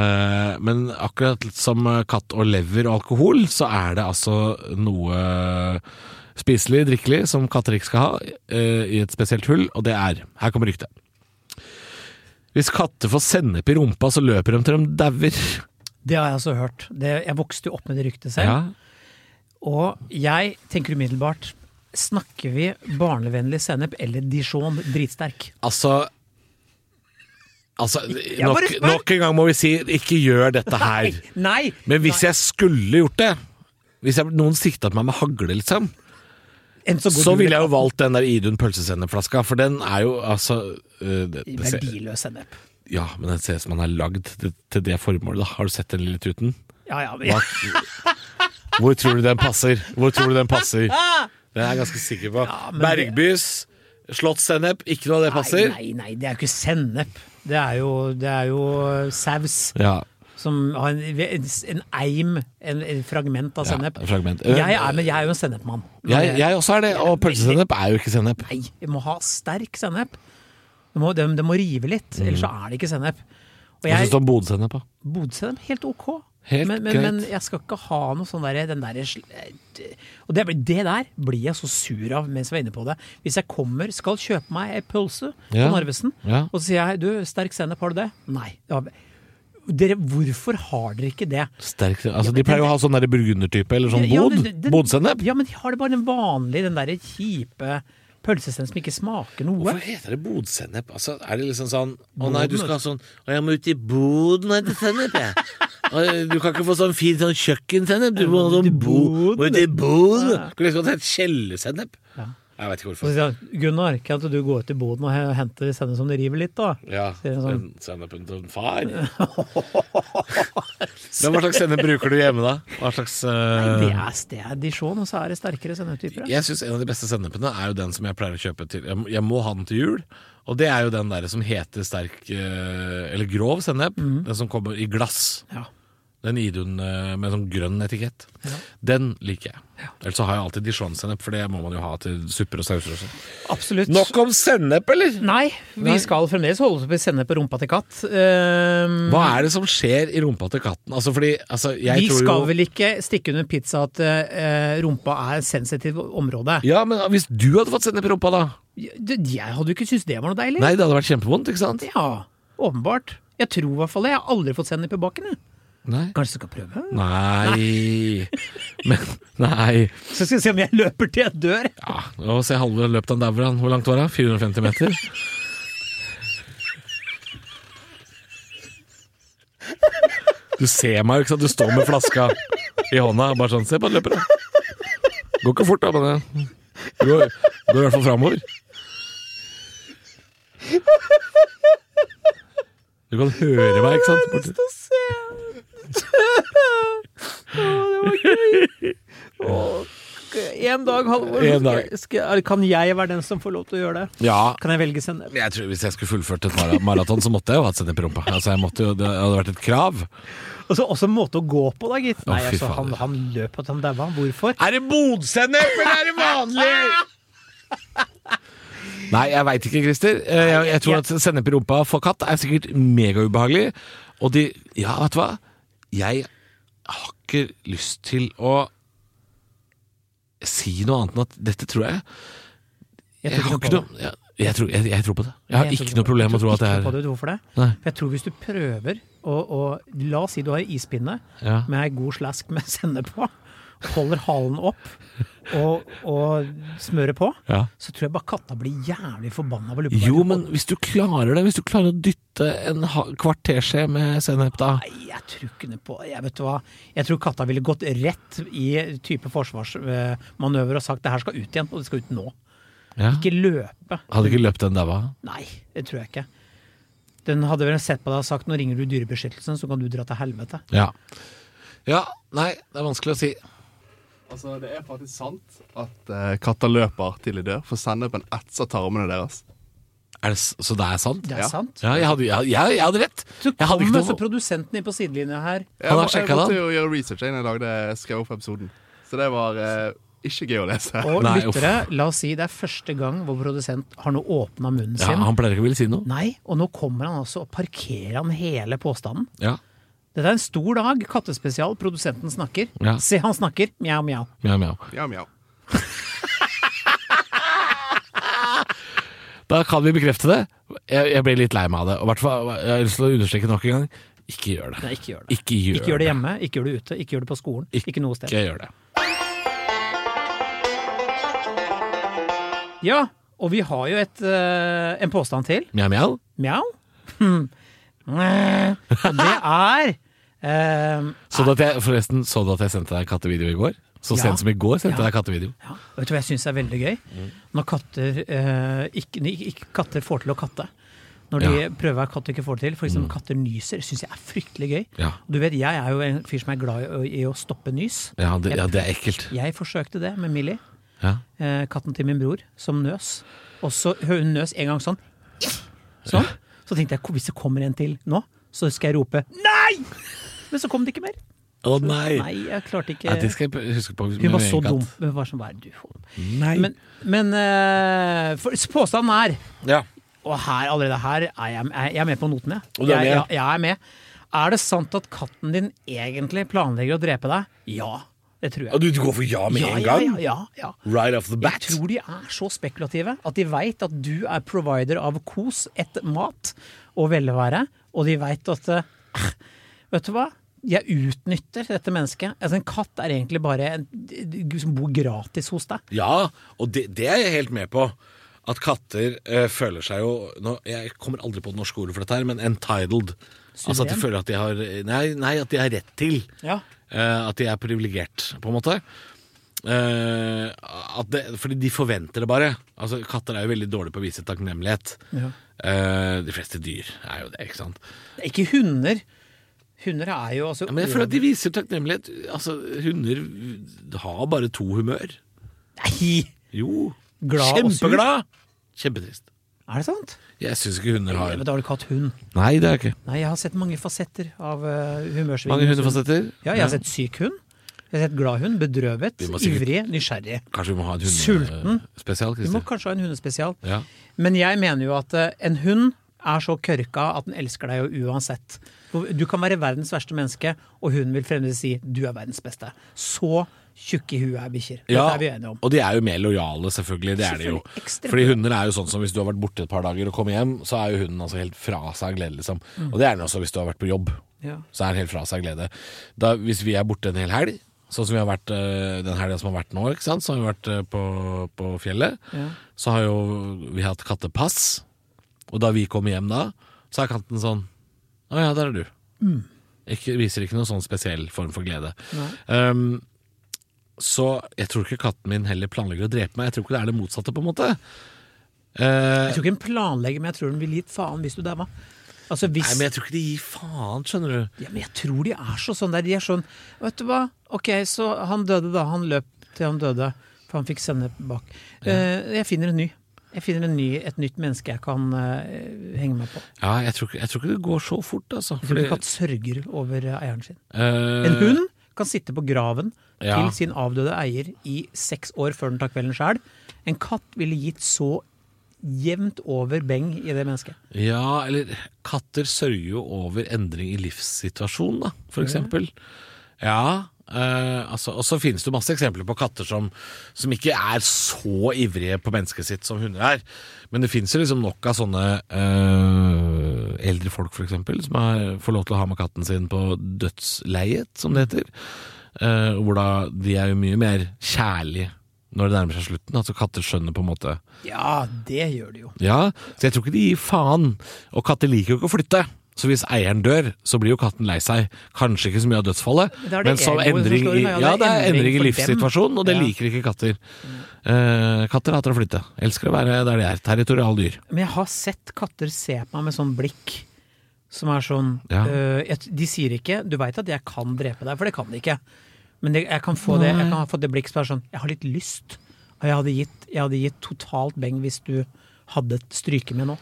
Speaker 3: Eh, men akkurat som katt og lever og alkohol, så er det altså noe spiselig, drikkelig, som katter ikke skal ha, eh, i et spesielt hull, og det er Her kommer ryktet. Hvis katter får sennep i rumpa, så løper de til de dauer.
Speaker 2: Det har jeg også hørt. Det, jeg vokste jo opp med det ryktet selv.
Speaker 3: Ja.
Speaker 2: Og jeg tenker umiddelbart Snakker vi barnevennlig sennep eller Dijon dritsterk?
Speaker 3: Altså Altså,
Speaker 2: Jeg bare
Speaker 3: nok,
Speaker 2: spør.
Speaker 3: nok en gang må vi si ikke gjør dette her.
Speaker 2: Nei!
Speaker 3: Men hvis jeg skulle gjort det Hvis jeg, noen sikta på meg med hagle, liksom,
Speaker 2: En så god
Speaker 3: så ville jeg jo valgt den der Idun pølsesennepflaska, for den er jo altså øh, det, det ser,
Speaker 2: Verdiløs sennep.
Speaker 3: Ja, men den ser ut som den er lagd til, til det formålet. da. Har du sett den lille tuten?
Speaker 2: Ja, ja, men,
Speaker 3: Hva, hvor tror du den passer? Hvor tror du den passer? Den er jeg ganske sikker på.
Speaker 2: Ja, men det-
Speaker 3: Bergbys slottssennep, ikke noe av det
Speaker 2: Nei,
Speaker 3: passer.
Speaker 2: nei, nei, det er jo ikke sennep. Det er jo, det er jo eh, saus
Speaker 3: Ja,
Speaker 2: som har en, en, en eim, en, en fragment av
Speaker 3: ja,
Speaker 2: sennep.
Speaker 3: fragment.
Speaker 2: jeg, er, men jeg er jo en sennepmann.
Speaker 3: Jeg, jeg også er det, og pølsesennep er jo ikke sennep.
Speaker 2: Nei, vi må ha sterk sennep. Det må, det, det må rive litt,
Speaker 3: Mm.
Speaker 2: ellers så er det ikke sennep. Og
Speaker 3: Hva
Speaker 2: jeg
Speaker 3: syns du om Bodø-sennep? sånn da?
Speaker 2: Bodø-sennep, helt ok.
Speaker 3: Helt
Speaker 2: men, men,
Speaker 3: greit.
Speaker 2: men jeg skal ikke ha noe sånn derre den derre sl- eh, Og det, blir- det der blir jeg så sur av mens jeg var inne på det. Hvis jeg kommer, skal kjøpe meg ei pølse
Speaker 3: Ja.
Speaker 2: på Narvesen,
Speaker 3: Ja.
Speaker 2: og så sier jeg du, sterk sennep, har du det? Nei. det har vi- Dere, hvorfor har dere ikke det?
Speaker 3: Sterk, altså, de pleier jo å ha sånn der burgundertype, eller sånn
Speaker 2: Ja,
Speaker 3: bod.
Speaker 2: men det- det-
Speaker 3: Bodsennep.
Speaker 2: Ja, men de har det bare den vanlige, den derre kjipe pølsesennep som ikke smaker noe.
Speaker 3: Hvorfor heter det bodsennep? Altså, er det liksom sånn Å nei, du skal ha sånn Å, jeg må ut i boden etter sennep, jeg. Å, Du kan ikke få sånn fin sånn kjøkkensennep. Du må ha sånn bod. Må ut i boden. Kunne liksom hett kjellersennep. Jeg vet ikke
Speaker 2: Og så
Speaker 3: hvorfor.
Speaker 2: sier han sånn, Gunnar, kan ikke du gå ut i boden og he- hente sennep som det river litt, da?
Speaker 3: Ja,
Speaker 2: Sier han sånn.
Speaker 3: den sennepen til en far. Men hva slags sennep bruker du hjemme, da? Hva slags eh,
Speaker 2: Det er, det er Dijon, og så er det sterkere senneptyper. ja.
Speaker 3: Jeg syns en av de beste sennepene er jo den som jeg pleier å kjøpe til Jeg, jeg må ha den til jul. Og det er jo den der som heter sterk eh, Eller grov sennep.
Speaker 2: Mm.
Speaker 3: Den som kommer i glass.
Speaker 2: Ja.
Speaker 3: Den Idun eh, med sånn grønn etikett. Den liker jeg. Ellers så har jeg alltid dijon-sennep, for det må man jo ha til supper og sauser og sånn.
Speaker 2: Absolutt.
Speaker 3: Nok om sennep, eller?
Speaker 2: Nei, vi skal fremdeles holde oss oppe i sennep og rumpa til katt. Ehm,
Speaker 3: Hva er det som skjer i rumpa til katten? Altså fordi altså, jeg
Speaker 2: vi
Speaker 3: tror jo
Speaker 2: skal vel ikke stikke under pizza at eh, rumpa er et sensitivt område.
Speaker 3: Ja, men hvis du hadde fått sennep i rumpa, da?
Speaker 2: Jeg jeg hadde jo ikke syntes det var noe deilig.
Speaker 3: Nei, det hadde vært kjempevondt, ikke sant?
Speaker 2: Ja, åpenbart. Jeg tror i hvert fall det. Jeg har aldri fått sennep i baken. jeg.
Speaker 3: Nei.
Speaker 2: Kanskje jeg skal prøve?
Speaker 3: Nei. Men Nei.
Speaker 2: Så skal vi se om jeg løper til jeg dør.
Speaker 3: Ja, og se halve løpet han dauer han. Hvor langt var han? 450 meter? Du ser meg jo, ikke sant? Du står med flaska i hånda, bare sånn. Se på han løper, da. Går ikke fort, da, men det går, går i hvert fall framover. Du kan høre meg, ikke sant? Borti-
Speaker 2: å se. Å, det var gøy. Å, en dag, Halvor,
Speaker 3: En dag.
Speaker 2: skal- skal- kan jeg være den som får lov til å gjøre det?
Speaker 3: Ja,
Speaker 2: Kan jeg velge sennep?
Speaker 3: jeg tror Hvis jeg skulle fullført et mara- maraton, så måtte jeg jo hatt sennep i rumpa. Altså, jeg måtte jo, det hadde vært et krav.
Speaker 2: Og så Altså, også en måte å gå på, da, gitt. Nei,
Speaker 3: fy
Speaker 2: altså, han,
Speaker 3: fader.
Speaker 2: han løp at han daua. Hvorfor?
Speaker 3: Er det bodsennep, eller er det vanlig? Nei, jeg veit ikke, Christer. Eh, Jeg, jeg tror at sennep i rumpa for katt er sikkert megaubehagelig. Og de Ja, vet du hva? Jeg har ikke lyst til å si noe annet enn at dette tror jeg. Jeg
Speaker 2: tror
Speaker 3: har
Speaker 2: på
Speaker 3: ikke noe jeg, jeg, tror, jeg, jeg tror på det. Jeg
Speaker 2: Jeg
Speaker 3: har
Speaker 2: tror
Speaker 3: ikke noe problem med å tro
Speaker 2: jeg
Speaker 3: at det
Speaker 2: tror ikke
Speaker 3: er
Speaker 2: på det. Vet du Hvorfor det?
Speaker 3: Nei.
Speaker 2: For jeg tror hvis du prøver å, å La oss si du har en ispinne
Speaker 3: Ja.
Speaker 2: med ei god slask med sennep på. Holder halen opp og, og smører på.
Speaker 3: Ja.
Speaker 2: Så tror jeg bare katta blir jævlig forbanna på luppa.
Speaker 3: Jo, men hvis du klarer det, hvis du klarer å dytte en ha- kvarterskje med sennep, da
Speaker 2: Nei, jeg tror ikke noe på Jeg vet hva Jeg tror katta ville gått rett i type forsvarsmanøver og sagt det her skal ut igjen, og det skal ut nå.
Speaker 3: ja.
Speaker 2: Ikke løpe.
Speaker 3: Hadde ikke løpt den daua.
Speaker 2: Nei, det tror jeg ikke. Den hadde vel sett på deg og sagt nå ringer du Dyrebeskyttelsen, så kan du dra til helvete.
Speaker 3: Ja. ja. Nei, det er vanskelig å si.
Speaker 1: Altså, Det er faktisk sant at eh, katter løper til de dør, for sennepen etser tarmene deres.
Speaker 3: Er det, s- så det er sant?
Speaker 2: Det er
Speaker 1: Ja.
Speaker 2: sant.
Speaker 3: Ja, jeg hadde, jeg, jeg, jeg hadde rett.
Speaker 2: Så
Speaker 3: Jeg hadde
Speaker 2: kommer
Speaker 3: ikke
Speaker 2: også
Speaker 3: noe
Speaker 2: produsenten inn på sidelinja her.
Speaker 1: Jeg,
Speaker 3: Han har
Speaker 1: må- jeg
Speaker 3: sjekket
Speaker 1: måtte
Speaker 3: den?
Speaker 1: jo gjøre research jeg, når jeg lagde skrev opp episoden, så det var eh, ikke gøy å lese.
Speaker 2: Og
Speaker 3: Nei, uff.
Speaker 2: lyttere, la oss si det er første gang vår produsent har nå åpna munnen
Speaker 3: ja,
Speaker 2: sin.
Speaker 3: Han pleier ikke å ville si noe.
Speaker 2: Nei, og nå kommer han altså og parkerer han hele påstanden.
Speaker 3: Ja.
Speaker 2: Dette er en stor dag. Kattespesial. Produsenten snakker.
Speaker 3: Ja.
Speaker 2: Se, han snakker. Mjau, mjau.
Speaker 3: Mjau, mjau.
Speaker 1: Mjau, mjau.
Speaker 3: Da kan vi bekrefte det. Jeg, jeg ble litt lei meg av det. Og i hvert fall, jeg har lyst til å understreke nok en gang ikke gjør det.
Speaker 2: Nei, ikke gjør det.
Speaker 3: Ikke gjør,
Speaker 2: Ikke gjør det hjemme, ikke gjør det ute, ikke gjør det på skolen. Ikke, noe sted.
Speaker 3: Ikke gjør det.
Speaker 2: Ja, og vi har jo et, eh, en påstand til.
Speaker 3: Mjau, mjau.
Speaker 2: Mjau. Hmm. Og det er eh,
Speaker 3: Så du at jeg, forresten, så du at jeg sendte deg en kattevideo i går? Så
Speaker 2: Ja.
Speaker 3: sent som i går sendte
Speaker 2: Ja.
Speaker 3: jeg deg kattevideo.
Speaker 2: ja, Vet du hva jeg syns er veldig gøy? Når katter, eh, ikke, nei, ikke, katter får til å katte. Når de
Speaker 3: Ja. Mm.
Speaker 2: prøver hva katter ikke får til. For eksempel katter nyser. syns jeg er fryktelig gøy.
Speaker 3: Ja.
Speaker 2: Du vet, Jeg er jo en fyr som er glad i, å- i å stoppe nys.
Speaker 3: Ja, det, ja, det er ekkelt.
Speaker 2: Jeg forsøkte det med Millie,
Speaker 3: Ja.
Speaker 2: eh, katten til min bror, som nøs. Og så hun nøs en gang sånn. Sånn. Så tenkte jeg hvis det kommer en til nå, så skal jeg rope nei! Men så kom det ikke mer.
Speaker 3: Å nei!
Speaker 2: Nei, jeg klarte ikke
Speaker 3: Ja, det skal jeg huske på.
Speaker 2: Hun var så dum. Hun var sånn, hva er det du holder på med?
Speaker 3: Nei.
Speaker 2: Men, men eh, for, påstanden er
Speaker 3: ja.
Speaker 2: Og her, allerede her er jeg, er jeg er med på notene.
Speaker 3: Og du
Speaker 2: jeg,
Speaker 3: er med, ja.
Speaker 2: jeg, jeg er med. Er det sant at katten din egentlig planlegger å drepe deg? Ja, det tror jeg.
Speaker 3: du, du går for ja med
Speaker 2: ja,
Speaker 3: en
Speaker 2: ja,
Speaker 3: gang?
Speaker 2: ja, ja, ja.
Speaker 3: Right off the
Speaker 2: Jeg
Speaker 3: bat?
Speaker 2: tror de er så spekulative at de veit at du er provider av kos, et mat og velvære, og de veit at eh, Vet du hva? Jeg utnytter dette mennesket. Altså, en katt er egentlig bare en du som bor gratis hos deg.
Speaker 3: Ja, og det, det er jeg helt med på. At katter eh, føler seg jo nå, Jeg kommer aldri på det norske ordet for dette, her, men entitled. Altså at de
Speaker 2: Suveren?
Speaker 3: føler at de har Nei, nei at de har rett til.
Speaker 2: Ja.
Speaker 3: Eh, at de er privilegert, på en måte. Eh, at det, fordi de forventer det bare. Altså Katter er jo veldig dårlige på å vise takknemlighet.
Speaker 2: Ja.
Speaker 3: Eh, de fleste dyr er jo det, ikke sant.
Speaker 2: Ikke hunder. Hunder er jo altså
Speaker 3: Ja, men jeg føler at de viser takknemlighet. Altså, Hunder har bare to humør.
Speaker 2: Nei!
Speaker 3: Jo.
Speaker 2: Glad og sur.
Speaker 3: Kjempeglad! Kjempetrist.
Speaker 2: Er det sant?
Speaker 3: Jeg syns ikke hunder
Speaker 2: Nei,
Speaker 3: har
Speaker 2: men da har du ikke hatt hund.
Speaker 3: Nei, det har jeg ikke.
Speaker 2: Nei, jeg har sett mange fasetter av uh,
Speaker 3: Mange hundefasetter.
Speaker 2: Ja, jeg har sett syk hund. Jeg har sett glad hund, bedrøvet,
Speaker 3: Vi må sikkert-
Speaker 2: ivrig, nysgjerrig.
Speaker 3: Kanskje vi må ha en
Speaker 2: Sulten.
Speaker 3: hundespesial,
Speaker 2: Vi må
Speaker 3: Christer.
Speaker 2: kanskje ha en hundespesial.
Speaker 3: Ja.
Speaker 2: Men jeg mener jo at eh, en hund er så kørka at den elsker deg jo uansett. For Du kan være verdens verste menneske, og hunden vil fremdeles si 'du er verdens beste'. Så tjukke i huet er bikkjer.
Speaker 3: Ja,
Speaker 2: Dette er vi enige om.
Speaker 3: og de er jo mer lojale, selvfølgelig. Det er de jo.
Speaker 2: Selvfølgelig, ekstremt.
Speaker 3: Fordi hunder er jo sånn som hvis du har vært borte et par dager og kommer hjem, så er jo hunden altså helt fra seg av glede, liksom. Og det er den også hvis du har vært på jobb.
Speaker 2: Mm. Ja.
Speaker 3: Så er den helt fra seg av glede. Da, hvis vi er borte en hel helg, sånn som vi har vært eh, den helga som har vært nå, ikke sant? så har vi vært eh, på, på fjellet,
Speaker 2: Ja.
Speaker 3: så har jo vi hatt kattepass. Og da vi kommer hjem da, så er katten sånn Å ja, der er du.
Speaker 2: Mm.
Speaker 3: Ikke, viser ikke noen sånn spesiell form for glede. Um, så jeg tror ikke katten min heller planlegger å drepe meg. Jeg tror ikke det er det motsatte, på en måte. Eh,
Speaker 2: Jeg tror ikke den planlegger, men jeg tror den vil gi faen hvis du daua. Altså, hvis...
Speaker 3: nei, men jeg tror ikke de gir faen, skjønner du.
Speaker 2: Ja, men jeg tror de er så sånn der. De er sånn Vet du hva, ok, så han døde da. Han løp til han døde, for han fikk sennep bak. Eh, jeg finner en ny. Jeg finner en ny, et nytt menneske jeg kan eh, henge meg på.
Speaker 3: Ja, jeg tror, ikke- jeg tror ikke det går så fort, altså.
Speaker 2: Jeg tror
Speaker 3: Fordi,
Speaker 2: ikke katt sørger over eh, eieren sin.
Speaker 3: eh,
Speaker 2: En hund kan sitte på graven
Speaker 3: Ja.
Speaker 2: til sin avdøde eier i seks år før den tar kvelden sjæl. En katt ville gitt så jevnt over beng i det mennesket.
Speaker 3: Ja, eller katter sørger jo over endring i livssituasjonen, da, for eksempel. Ja, eh, altså, og så finnes det jo masse eksempler på katter som, som ikke er så ivrige på mennesket sitt som hunder er. Men det finnes jo liksom nok av sånne eh, eldre folk, for eksempel, som er, får lov til å ha med katten sin på dødsleiet, som det heter. Eh, hvor da de er jo mye mer kjærlige når det nærmer seg slutten. Altså katter skjønner på en måte
Speaker 2: Ja, det gjør det jo.
Speaker 3: ja, så jeg tror ikke de gir faen. Og katter liker jo ikke å flytte. Så hvis eieren dør, så blir jo katten lei seg. Kanskje ikke så mye av dødsfallet,
Speaker 2: Det er det
Speaker 3: men som
Speaker 2: egoet som
Speaker 3: endring
Speaker 2: slår
Speaker 3: i,
Speaker 2: inn, ja, det er
Speaker 3: ja, det er endring i
Speaker 2: endring for dem.
Speaker 3: livssituasjonen, og det
Speaker 2: Ja.
Speaker 3: liker ikke katter. Eh, katter hater å flytte. Elsker å være der de er. Territoriale dyr.
Speaker 2: Men jeg har sett katter se på meg med sånn blikk som er sånn
Speaker 3: Ja.
Speaker 2: øh, jeg, De sier ikke 'du veit at jeg kan drepe deg', for det kan de ikke. Men det, jeg kan få det, jeg kan få det blikk som er sånn 'jeg har litt lyst', og jeg hadde gitt, jeg hadde gitt totalt beng hvis du hadde et stryke med nå.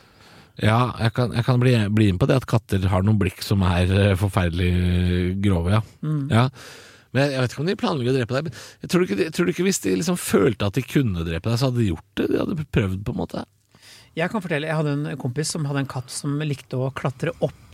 Speaker 3: Ja, jeg kan, jeg kan bli, bli med på det at katter har noen blikk som er eh, forferdelig grove, ja.
Speaker 2: Mm.
Speaker 3: ja. Men jeg, jeg vet ikke om de planlegger å drepe deg. Men jeg tror ikke, de- jeg tror ikke hvis de liksom følte at de kunne drepe deg, så hadde de gjort det. De hadde prøvd, på en måte.
Speaker 2: Jeg kan fortelle, jeg hadde en kompis som hadde en katt som likte å klatre opp.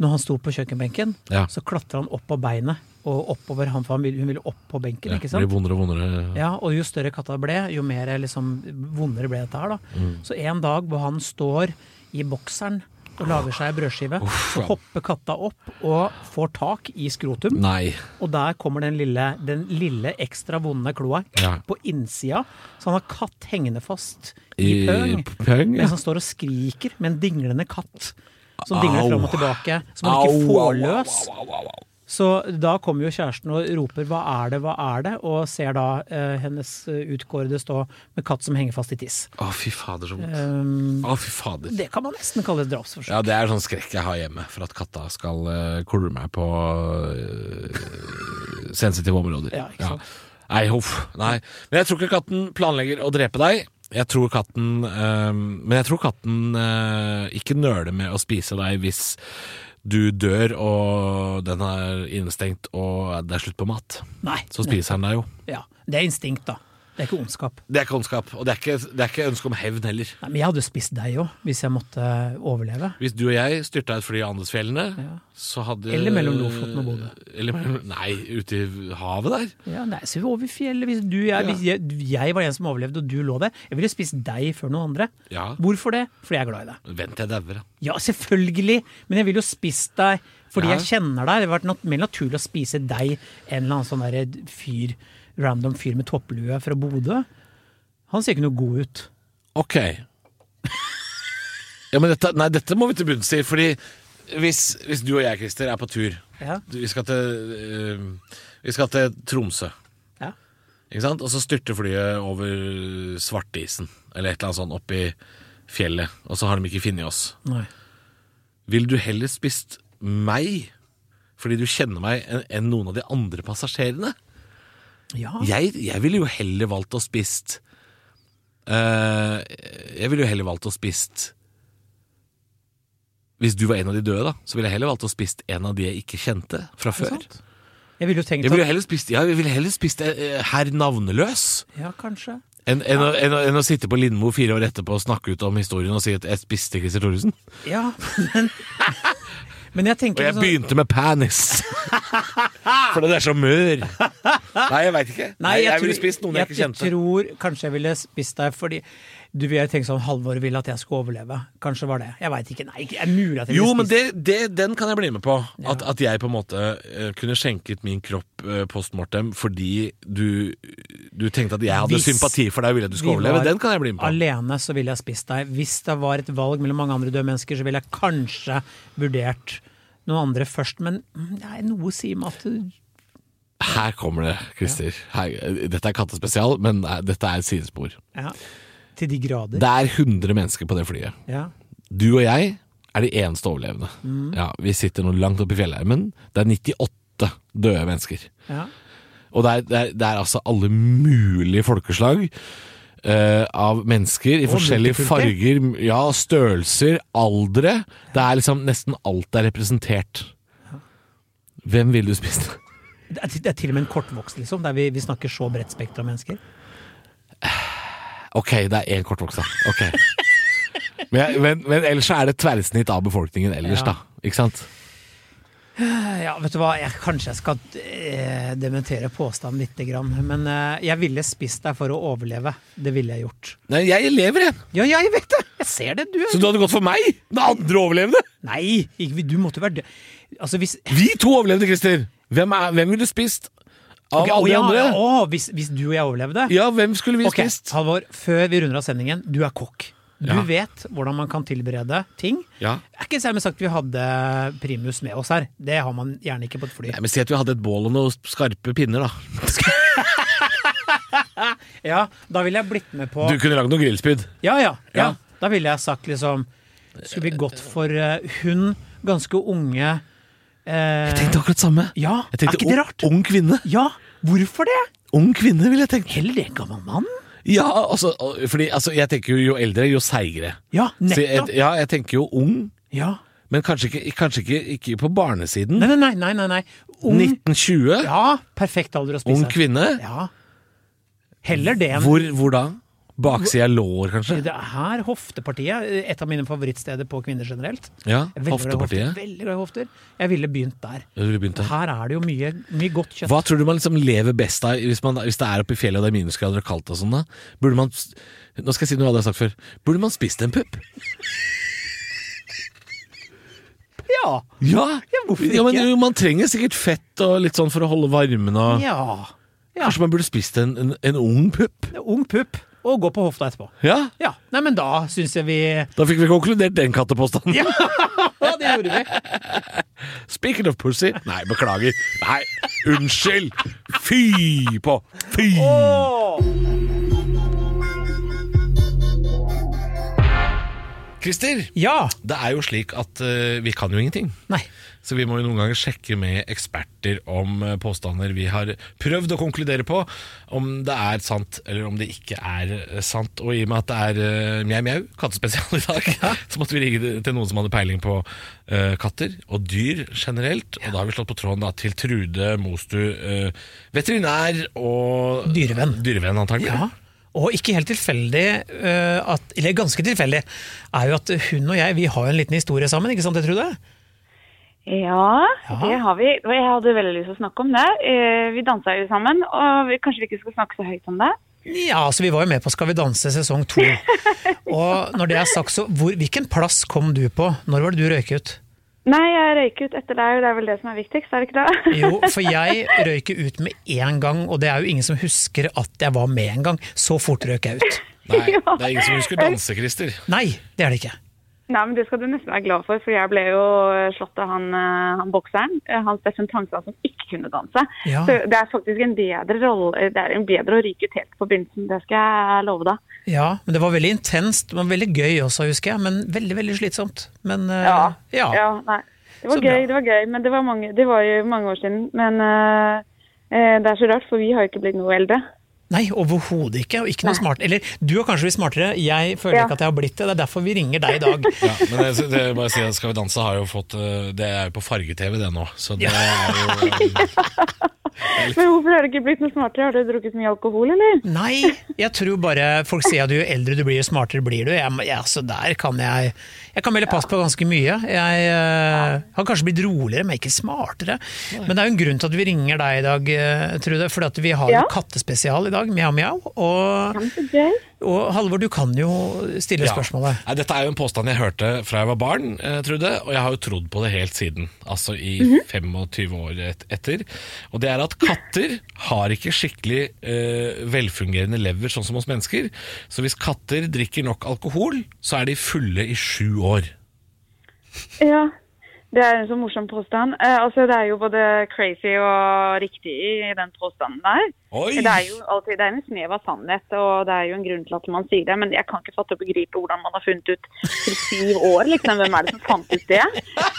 Speaker 2: Når han sto på kjøkkenbenken,
Speaker 3: Ja.
Speaker 2: så klatra han opp på beinet og oppover han, for han ville, hun ville opp på benken, ikke sant?
Speaker 3: Blir vondere og vondere.
Speaker 2: Ja, og jo større katta ble, jo mer liksom vondere ble dette her, da.
Speaker 3: Mm.
Speaker 2: Så en dag hvor han står i bokseren og lager seg ei brødskive, så
Speaker 3: ja. Mm.
Speaker 2: hopper katta opp og får tak i skrotum.
Speaker 3: Nei.
Speaker 2: Og der kommer den lille, den lille ekstra vonde kloa
Speaker 3: Ja.
Speaker 2: på innsida. Så han har katt hengende fast i
Speaker 3: I
Speaker 2: pøng.
Speaker 3: pøng, ja.
Speaker 2: Mens han står og skriker med en dinglende katt. Som dingler
Speaker 3: Au.
Speaker 2: fram og tilbake. Som han ikke
Speaker 3: Au, au, au,
Speaker 2: får løs.
Speaker 3: au, au, au, au.
Speaker 2: Så da kommer jo kjæresten og roper 'hva er det', 'hva er det', og ser da eh, hennes eh, utkårede stå med katt som henger fast i tiss.
Speaker 3: Å, fy fader, så vondt.
Speaker 2: Um,
Speaker 3: Å, fy fader.
Speaker 2: det kan man nesten kalle et drapsforsøk.
Speaker 3: Ja, det er sånn skrekk jeg har hjemme for at katta skal uh, klore meg på eh, sensitive områder.
Speaker 2: Ja, ikke sant?
Speaker 3: Nei, huff. Nei. Men jeg tror ikke katten planlegger å drepe deg. Jeg tror katten eh, Men jeg tror katten eh, ikke nøler med å spise deg hvis du dør og den er innestengt og det er slutt på mat.
Speaker 2: Nei.
Speaker 3: Så spiser han deg jo.
Speaker 2: Ja, det er instinkt, da. Det er ikke ondskap.
Speaker 3: Det er ikke ondskap, og det er ikke, det er ikke ønske om hevn heller.
Speaker 2: Nei, men jeg hadde spist deg òg, hvis jeg måtte eh, overleve.
Speaker 3: Hvis du og jeg styrta et fly i Andesfjellene, så hadde
Speaker 2: Eller mellom Lofoten og Bodø.
Speaker 3: Eller mellom, nei, ute i havet der.
Speaker 2: Ja, nei, så over fjellet. Hvis, du, jeg, hvis jeg, jeg var den som overlevde, og du lå der, jeg ville spist deg før noen andre.
Speaker 3: Ja.
Speaker 2: Hvorfor det? Fordi jeg er glad i deg.
Speaker 3: Vent til jeg dauer, da.
Speaker 2: Ja, selvfølgelig, men jeg vil jo spist deg fordi
Speaker 3: Ja.
Speaker 2: jeg kjenner deg. Det hadde vært nat mer naturlig å spise deg enn en eller annen sånn der fyr, random fyr med topplue fra Bodø. Han ser ikke noe god ut.
Speaker 3: Ok. Ja, men dette, nei, dette må vi til bunns i, fordi hvis, hvis du og jeg, Christer, er på tur
Speaker 2: Ja.
Speaker 3: Du- Vi skal til, eh, vi skal til Tromsø,
Speaker 2: Ja.
Speaker 3: ikke sant? Og så styrter flyet over Svartisen, eller et eller annet sånt, oppi fjellet. Og så har de ikke funnet oss.
Speaker 2: Nei.
Speaker 3: Vil du heller spist meg fordi du kjenner meg enn enn noen av de andre passasjerene?
Speaker 2: Ja.
Speaker 3: Jeg, jeg ville jo heller valgt å spist eh, Jeg ville jo heller valgt å spist Hvis du var en av de døde, da, så ville jeg heller valgt å spist en av de jeg ikke kjente fra
Speaker 2: ikke
Speaker 3: før.
Speaker 2: sant? Jeg ville jo tenkt
Speaker 3: Jeg ville
Speaker 2: at
Speaker 3: jo heller spist, ja, jeg ville heller spist eh, herr Navneløs
Speaker 2: Ja, kanskje.
Speaker 3: enn enn å, enn å, enn å sitte på Lindmo fire år etterpå og snakke ut om historien og si at jeg spiste Christer Thoresen.
Speaker 2: Ja, men Men jeg
Speaker 3: Og
Speaker 2: tenker sånn-
Speaker 3: jeg begynte med penis. Fordi det er så mør. Nei, jeg veit ikke.
Speaker 2: Nei, jeg,
Speaker 3: ville
Speaker 2: tror-
Speaker 3: spist noen jeg, ikke kjente.
Speaker 2: tror kanskje jeg ville spist deg fordi du ville tenkt sånn Halvor ville at jeg skulle overleve. Kanskje var det. Jeg veit ikke. Nei, det er mulig at jeg ville
Speaker 3: Jo, men
Speaker 2: spist
Speaker 3: det, det, den kan jeg bli med på. At, at jeg på en måte eh, kunne skjenket min kropp eh, post mortem fordi du, du tenkte at jeg hadde
Speaker 2: Hvis
Speaker 3: sympati for deg og ville at du skulle
Speaker 2: vi
Speaker 3: overleve.
Speaker 2: var
Speaker 3: Den kan jeg bli med på.
Speaker 2: Alene så ville jeg spist deg. Hvis det var et valg mellom mange andre døde mennesker, så ville jeg kanskje vurdert noen andre først, men mm, nei, noe sier meg at du-
Speaker 3: Her kommer det, Christer. Her, dette er kattespesial, men eh, dette er et sidespor.
Speaker 2: ja, Til de grader.
Speaker 3: Det er 100 mennesker på det flyet.
Speaker 2: Ja.
Speaker 3: Du og jeg er de eneste overlevende. Ja, vi sitter nå langt oppe i fjellheimen. Det er 98 døde mennesker.
Speaker 2: Ja.
Speaker 3: Og det er, det er, det er altså alle mulige folkeslag eh, av mennesker i forskjellige
Speaker 2: multikulti.
Speaker 3: farger, ja, størrelser, aldre. Det er liksom nesten alt er representert. Hvem ville du spist?
Speaker 2: Det, er, til- det er til og med en kortvokst, liksom, der vi, vi snakker så bredt spekter av mennesker.
Speaker 3: Ok, det er én kortvokst, da. Ok. Men, jeg- men, men ellers så er det et tverrsnitt av befolkningen ellers,
Speaker 2: Ja.
Speaker 3: da. Ikke sant?
Speaker 2: Ja, vet du hva, jeg, kanskje jeg skal eh, dementere påstanden lite grann, men eh, jeg ville spist deg for å overleve. Det ville jeg gjort.
Speaker 3: Nei, jeg lever, jeg!
Speaker 2: Ja, jeg vet det! Jeg ser det, du. er-
Speaker 3: Så du hadde gått for meg? Den andre overlevende?
Speaker 2: Nei, ikke, du måtte jo være død. Altså, hvis
Speaker 3: Vi to overlevde, Christer. Hvem, er, hvem ville du spist av
Speaker 2: Ok,
Speaker 3: alle
Speaker 2: å,
Speaker 3: de
Speaker 2: ja,
Speaker 3: andre?
Speaker 2: ja, å, hvis, hvis du og jeg overlevde?
Speaker 3: Ja, hvem skulle vi
Speaker 2: ok,
Speaker 3: spist?
Speaker 2: Halvor, før vi runder av sendingen, du er kokk. Du
Speaker 3: Ja.
Speaker 2: vet hvordan man kan tilberede ting.
Speaker 3: Ja.
Speaker 2: Det er ikke særlig sagt vi hadde primus med oss her. Det har man gjerne ikke på et fly.
Speaker 3: Nei, men Si at vi hadde et bål og noen skarpe pinner, da.
Speaker 2: Ja, da ville jeg blitt med på
Speaker 3: Du kunne lagd noe grillspyd.
Speaker 2: Ja, ja, ja.
Speaker 3: Ja.
Speaker 2: Da ville jeg sagt liksom Skulle vi gått for eh, hun ganske unge eh,
Speaker 3: Tenkte akkurat samme.
Speaker 2: Ja,
Speaker 3: Jeg tenkte
Speaker 2: er ikke det rart?
Speaker 3: Ung, ung kvinne.
Speaker 2: Ja, hvorfor det?
Speaker 3: Ung kvinne, ville jeg tenkt.
Speaker 2: Heller en gammel mann?
Speaker 3: Ja, altså, fordi altså, jeg tenker jo, jo eldre, jo seigere.
Speaker 2: Ja,
Speaker 3: Så jeg,
Speaker 2: nettopp.
Speaker 3: ja, jeg tenker jo ung,
Speaker 2: Ja.
Speaker 3: men kanskje ikke, kanskje ikke, ikke på barnesiden.
Speaker 2: Nei, nei, nei. nei, nei, nei. Ung,
Speaker 3: 1920,
Speaker 2: ja, perfekt alder å spise.
Speaker 3: ung kvinne.
Speaker 2: Ja. Heller det enn
Speaker 3: Hvor, hvor da? Baksida av lår, kanskje?
Speaker 2: Det er hoftepartiet. Et av mine favorittsteder på kvinner generelt.
Speaker 3: Ja,
Speaker 2: Jeg er veldig glad i hofter,
Speaker 3: Hoftepartiet.
Speaker 2: Veldig glad i hofter. Jeg ville begynt der.
Speaker 3: Du begynte.
Speaker 2: Her er det jo mye, mye godt kjøtt.
Speaker 3: Hva tror du man liksom lever best av hvis, man, hvis det er oppe i fjellet og det er minusgrader og kaldt og sånn? da? Burde man Nå skal jeg si noe jeg aldri har sagt før. Burde man spist en pupp?
Speaker 2: Ja!
Speaker 3: Ja!
Speaker 2: Ja, hvorfor
Speaker 3: Ja, men
Speaker 2: ikke?
Speaker 3: jo, Man trenger sikkert fett og litt sånn for å holde varmen og
Speaker 2: ja. ja.
Speaker 3: Kanskje man burde spist en, en, en ung pupp?
Speaker 2: Ung pupp, og gå på hofta etterpå.
Speaker 3: Ja!
Speaker 2: Ja. Nei, men da syns jeg vi
Speaker 3: Da fikk vi konkludert den kattepåstanden.
Speaker 2: Ja, det gjorde vi.
Speaker 3: Speaking of pussy Nei, beklager. Nei, unnskyld! Fy på! Fy! Christer,
Speaker 2: Ja.
Speaker 3: det er jo slik at eh, vi kan jo ingenting.
Speaker 2: Nei.
Speaker 3: Så vi må jo noen ganger sjekke med eksperter om eh, påstander vi har prøvd å konkludere på, om det er sant eller om det ikke er eh, sant. Og i og med at det er eh, mjau mjau, kattespesial i dag, så måtte vi ringe til noen som hadde peiling på eh, katter og dyr generelt. Og da har vi slått på tråden da, til Trude Mostu, eh, veterinær og
Speaker 2: Dyrevenn.
Speaker 3: Dyrevenn, antagelig.
Speaker 2: Ja. Og ikke helt tilfeldig, eh, at, eller ganske tilfeldig, er jo at hun og jeg vi har jo en liten historie sammen, ikke sant det, Trude?
Speaker 4: Ja,
Speaker 2: Ja.
Speaker 4: det har vi. Og jeg hadde veldig lyst til å snakke om det. Eh, Vi dansa jo sammen, og vi, kanskje vi ikke skal snakke så høyt om det.
Speaker 2: Ja, altså vi var jo med på Skal vi danse sesong to. Og når det er sagt, så hvor, hvilken plass kom du på? Når var det du røyk ut?
Speaker 4: Nei, jeg røyk ut etter deg, og det er vel det som er viktigst, er det ikke det?
Speaker 2: Jo, for jeg røyk jo ut med én gang, og det er jo ingen som husker at jeg var med en gang. Så fort røyk jeg ut.
Speaker 3: Nei, det er ingen som husker danse, Christer.
Speaker 2: Nei, det er det ikke.
Speaker 4: Nei, men det skal du nesten være glad for, for jeg ble jo slått av han, eh, han bokseren. eh, Han Steffen Tangstad som ikke kunne danse.
Speaker 2: Ja.
Speaker 4: Så det er faktisk en bedre rolle, eh, det er en bedre å ryke ut helt på begynnelsen, det skal jeg love deg.
Speaker 2: Ja, men det var veldig intenst. Det var veldig gøy også, husker jeg, men veldig, veldig slitsomt. Men eh, ja.
Speaker 4: ja nei. Det var
Speaker 2: Så
Speaker 4: gøy,
Speaker 2: bra.
Speaker 4: det var gøy, men det var, mange, det var jo mange år siden. Men eh, eh, det er så rart, for vi har jo ikke blitt noe eldre.
Speaker 2: Nei, overhodet ikke. Og ikke noe smart. Eller du har kanskje blitt smartere, jeg føler
Speaker 4: Ja.
Speaker 2: ikke at jeg har blitt det. Det er derfor vi ringer deg i dag.
Speaker 3: Ja, men jeg, det, jeg bare si at Skal vi danse har jo fått eh, Det er jo på farge-TV, det nå. Så det er jo eh,
Speaker 4: Men hvorfor har du ikke blitt noe smartere? Har du drukket mye alkohol, eller?
Speaker 2: Nei, jeg tror bare folk sier at jo eldre du blir, jo smartere blir du. Jeg, må- ja, så der kan jeg Jeg kan melde pass på ganske mye. Jeg eh, har kanskje blitt roligere, men ikke smartere. Men det er jo en grunn til at vi ringer deg i dag, eh, Trude. For vi har
Speaker 4: Ja.
Speaker 2: en kattespesial i dag, mjau mjau. Og,
Speaker 4: Men så gøy.
Speaker 2: og Halvor, du kan jo stille
Speaker 3: ja.
Speaker 2: spørsmålet.
Speaker 3: Nei, Dette er jo en påstand jeg hørte fra jeg var barn, eh, Trude, og jeg har jo trodd på det helt siden. Altså i
Speaker 4: Mhm.
Speaker 3: 25 år et, etter. Og det er at katter har ikke skikkelig eh, velfungerende lever, sånn som hos mennesker. Så hvis katter drikker nok alkohol, så er de fulle i sju år.
Speaker 4: Ja. Det er en så morsom påstand. Eh, altså, det er jo både crazy og riktig i, i den påstanden der.
Speaker 3: Oi!
Speaker 4: Det er jo alltid det er en snev av sannhet, og det er jo en grunn til at man sier det. Men jeg kan ikke fatte og begripe hvordan man har funnet ut til syv år, liksom. Hvem er det som fant ut det?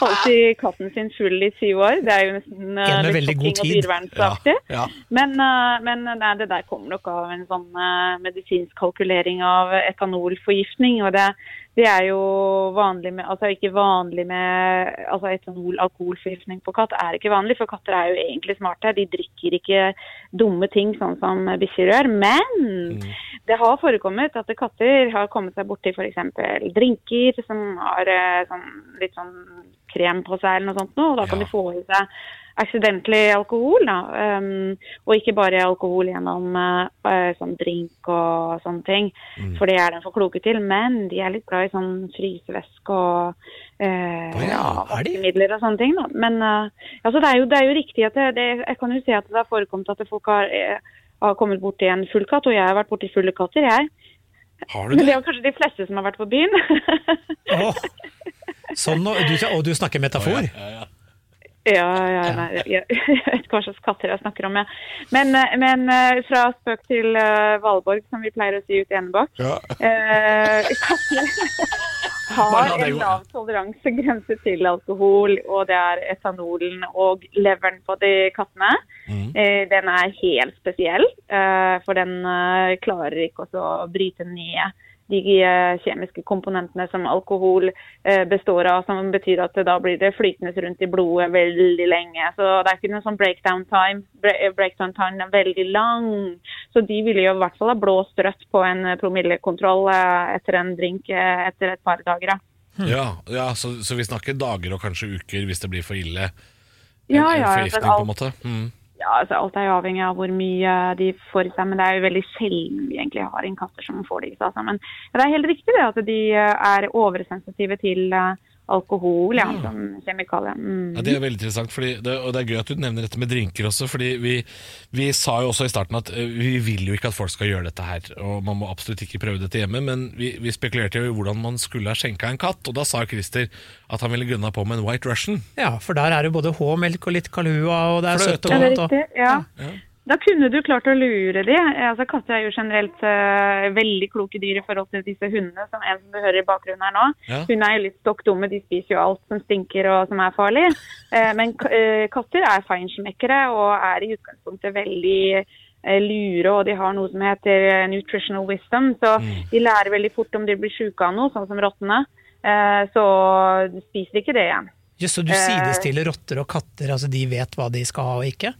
Speaker 4: Holdt i katten sin full i syv år. Det er jo nesten eh,
Speaker 2: En med
Speaker 4: litt
Speaker 2: veldig god
Speaker 4: fucking og
Speaker 2: tid.
Speaker 4: dyrevernsaktig.
Speaker 3: Ja, ja.
Speaker 4: Men, eh, men nei, det der kommer nok av en sånn eh, medisinsk kalkulering av etanolforgiftning. Og det, det er jo vanlig med Altså ikke vanlig med altså Etanol-alkoholforgiftning på katt er ikke vanlig, for katter er jo egentlig smarte. De drikker ikke dumme ting sånn som bikkjer gjør. Men det har forekommet at katter har kommet seg borti f.eks. drinker som har eh, sånn, litt sånn krem på seg eller noe sånt, nå, og da kan
Speaker 3: Ja.
Speaker 4: de få i seg accidentally alkohol. Da. Um, og ikke bare alkohol gjennom eh, eh, sånn drink og sånne ting,
Speaker 2: Mm.
Speaker 4: for det er de for kloke til. Men de er litt glad i sånn frysevæske og eh,
Speaker 2: Å ja, er de?
Speaker 4: vaskemidler og sånne ting. Da. Men eh, altså, det, er jo, det er jo riktig at det, det, jeg kan jo se at det har forekommet at folk har, eh, har kommet borti en full katt, og jeg har vært borti fulle katter, jeg.
Speaker 3: Har du
Speaker 4: Men
Speaker 3: det?
Speaker 4: det er jo kanskje de fleste som har vært på byen.
Speaker 2: Åh, sånn, og, du, og du snakker metafor?
Speaker 4: Ja, ja, nei, jeg, jeg vet ikke hva slags katter jeg snakker om. Jeg. Men, eh, men eh, fra spøk til eh, Valborg, som vi pleier å si ut Enebakk. Eh, katter
Speaker 3: Bare la
Speaker 4: har
Speaker 3: det
Speaker 4: en
Speaker 3: gå.
Speaker 4: lav toleransegrense til alkohol, og det er etanolen og leveren på de kattene.
Speaker 3: Mm.
Speaker 4: Eh, den er helt spesiell, eh, for den eh, klarer ikke også å bryte ned de eh, kjemiske komponentene som alkohol eh, består av, som betyr at det da blir det flytende rundt i blodet veldig lenge. Så det er ikke noe sånn breakdown time. Bre eh, breakdown time er veldig lang. Så de ville jo i hvert fall ha blåst rødt på en eh, promillekontroll eh, etter en drink eh, etter et par dager. Da.
Speaker 3: Ja, ja så, så vi snakker dager og kanskje uker hvis det blir for ille. En-
Speaker 4: Ja,
Speaker 3: en
Speaker 4: ja,
Speaker 3: Forgiftning,
Speaker 4: men
Speaker 3: på
Speaker 4: alt-
Speaker 3: en måte. Mm.
Speaker 4: Ja, altså Alt er jo avhengig av hvor mye de får i seg, men det er jo veldig sjelden vi egentlig har innkaster som får det i seg. altså. Men ja, det er helt riktig det at de eh, er oversensitive til eh, alkohol ja, som kjemikalie. Mm.
Speaker 3: Ja, det er veldig interessant, fordi det, og det er gøy at du nevner dette med drinker også. fordi vi, vi sa jo også i starten at eh, vi vil jo ikke at folk skal gjøre dette her, og man må absolutt ikke prøve dette hjemme, men vi, vi spekulerte jo i hvordan man skulle ha skjenka en katt, og da sa Christer at han ville gunna på med en White Russian.
Speaker 2: Ja, for der er det både H-melk og litt Kalua, og det er
Speaker 3: Fløte.
Speaker 2: søtt
Speaker 4: Ja,
Speaker 2: og
Speaker 4: det er
Speaker 2: godt. og-
Speaker 4: riktig. Ja.
Speaker 3: Ja.
Speaker 4: Da kunne du klart å lure de. Altså, katter er jo generelt eh, veldig kloke dyr i forhold til disse hundene, som en som du hører i bakgrunnen her nå.
Speaker 3: Ja.
Speaker 4: Hun er jo litt stokk dumme, de spiser jo alt som stinker og som er farlig. Eh, men k- eh, katter er feinschmeckere og er i utgangspunktet veldig eh, lure, og de har noe som heter eh, nutritional wisdom, så
Speaker 3: Mm.
Speaker 4: de lærer veldig fort om de blir syke av noe, sånn som rottene. Eh, så de spiser ikke det igjen.
Speaker 2: Jøss, så du
Speaker 4: Eh.
Speaker 2: sidestiller rotter og katter, altså de vet hva de skal ha og ikke?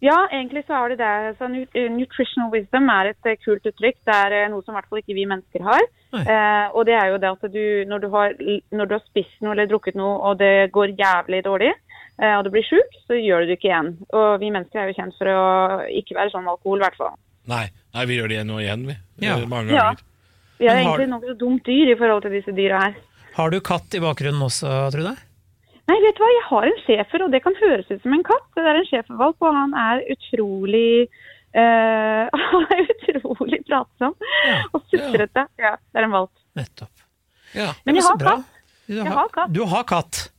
Speaker 4: Ja, egentlig så er det det. Så nu- eh, nutritional wisdom er et eh, kult uttrykk. Det er eh, noe som i hvert fall ikke vi mennesker har.
Speaker 2: Nei.
Speaker 4: Eh, og det er jo det at du når, du har, når du har spist noe eller drukket noe, og det går jævlig dårlig, eh, og du blir sjuk, så gjør du det ikke igjen. Og vi mennesker er jo kjent for å ikke være sånn med alkohol, i hvert fall.
Speaker 3: Nei, nei, vi gjør det igjen og igjen, vi.
Speaker 2: Ja.
Speaker 3: Eh, Mange
Speaker 4: Ja.
Speaker 3: ganger.
Speaker 4: Vi er
Speaker 2: Men har-
Speaker 4: egentlig noe så dumt dyr i forhold til disse dyra her.
Speaker 2: Har du katt i bakgrunnen også, Trude?
Speaker 4: Nei, vet du hva, jeg har en schæfer, og det kan høres ut som en katt. Det er en schæfervalp, og han er utrolig eh, Han er utrolig pratsom
Speaker 2: Ja,
Speaker 4: og sutrete. Ja, det er en valp.
Speaker 2: Nettopp.
Speaker 3: Ja.
Speaker 2: Ja,
Speaker 4: Men jeg
Speaker 2: så
Speaker 4: har
Speaker 2: bra.
Speaker 4: katt.
Speaker 2: Du
Speaker 4: Jeg har katt.
Speaker 2: Du har katt.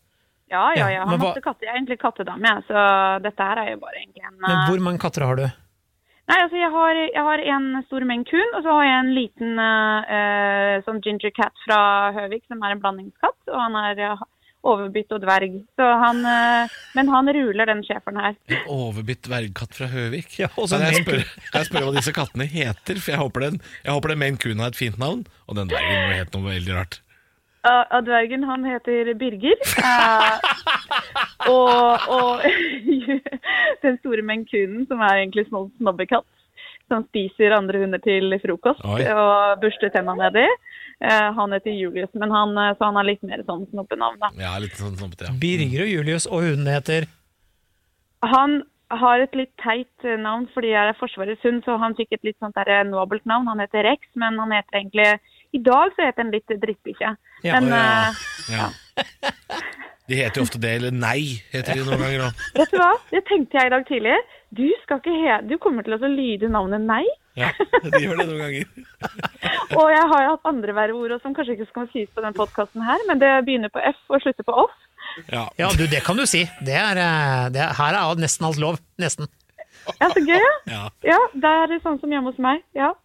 Speaker 4: Ja, ja,
Speaker 2: Ja,
Speaker 4: ja.
Speaker 2: men
Speaker 4: Han
Speaker 2: hva-
Speaker 4: masse katter. Jeg er egentlig kattedame, jeg, så dette her er jo bare egentlig en
Speaker 2: Men
Speaker 4: eh,
Speaker 2: hvor mange katter har du?
Speaker 4: Nei, altså jeg har, jeg har en stor Maine Coon, og så har jeg en liten eh, eh, sånn ginger cat fra Høvik, som er en blandingskatt. Og han er eh, overbitt og dverg. Så han, eh, men han ruler, den schæferen her.
Speaker 3: En overbitt dvergkatt fra Høvik.
Speaker 2: Ja, og så
Speaker 3: Kan jeg
Speaker 2: en
Speaker 3: spør, kan jeg spørre hva disse kattene heter, for jeg håper den, jeg håper den Maine Coon har et fint navn, og den dvergen må hete noe veldig rart.
Speaker 4: Ja, ja, dvergen Eh, han heter Birger. eh, og og den store menkunen, som er egentlig snobb- snobbekatt, som spiser andre hunder til frokost
Speaker 3: Oi.
Speaker 4: og børster tenna nedi. Eh, han heter Julius, men han, eh, så han har litt mer sånn snobbenavn, da.
Speaker 3: Ja, litt sånn snobbete, ja.
Speaker 2: Birger og Julius, og hundene heter
Speaker 4: Han har et litt teit eh, navn fordi jeg er Forsvarets hund, så han fikk et litt sånt der eh, nobelt navn. Han heter Rex, men han heter egentlig I dag så heter han litt drittbikkje.
Speaker 2: Ja,
Speaker 4: men eh,
Speaker 3: ja. ja. De heter jo ofte det, eller nei, heter de noen ganger òg.
Speaker 4: Vet du hva? Det tenkte jeg i dag tidlig. Du, skal ikke he du kommer til å så lyde navnet nei.
Speaker 3: Ja, de gjør det noen ganger.
Speaker 4: Og jeg har jo hatt andre verveord også, som kanskje ikke skal sies på den podkasten her, men det begynner på F og slutter på off.
Speaker 3: Ja.
Speaker 2: Ja, du, det kan du si. Det er, eh, det, er- her er nesten alt lov. Nesten.
Speaker 4: Ja, så gøy, ja.
Speaker 3: Ja.
Speaker 4: Ja, det er sånn som hjemme hos meg. Ja.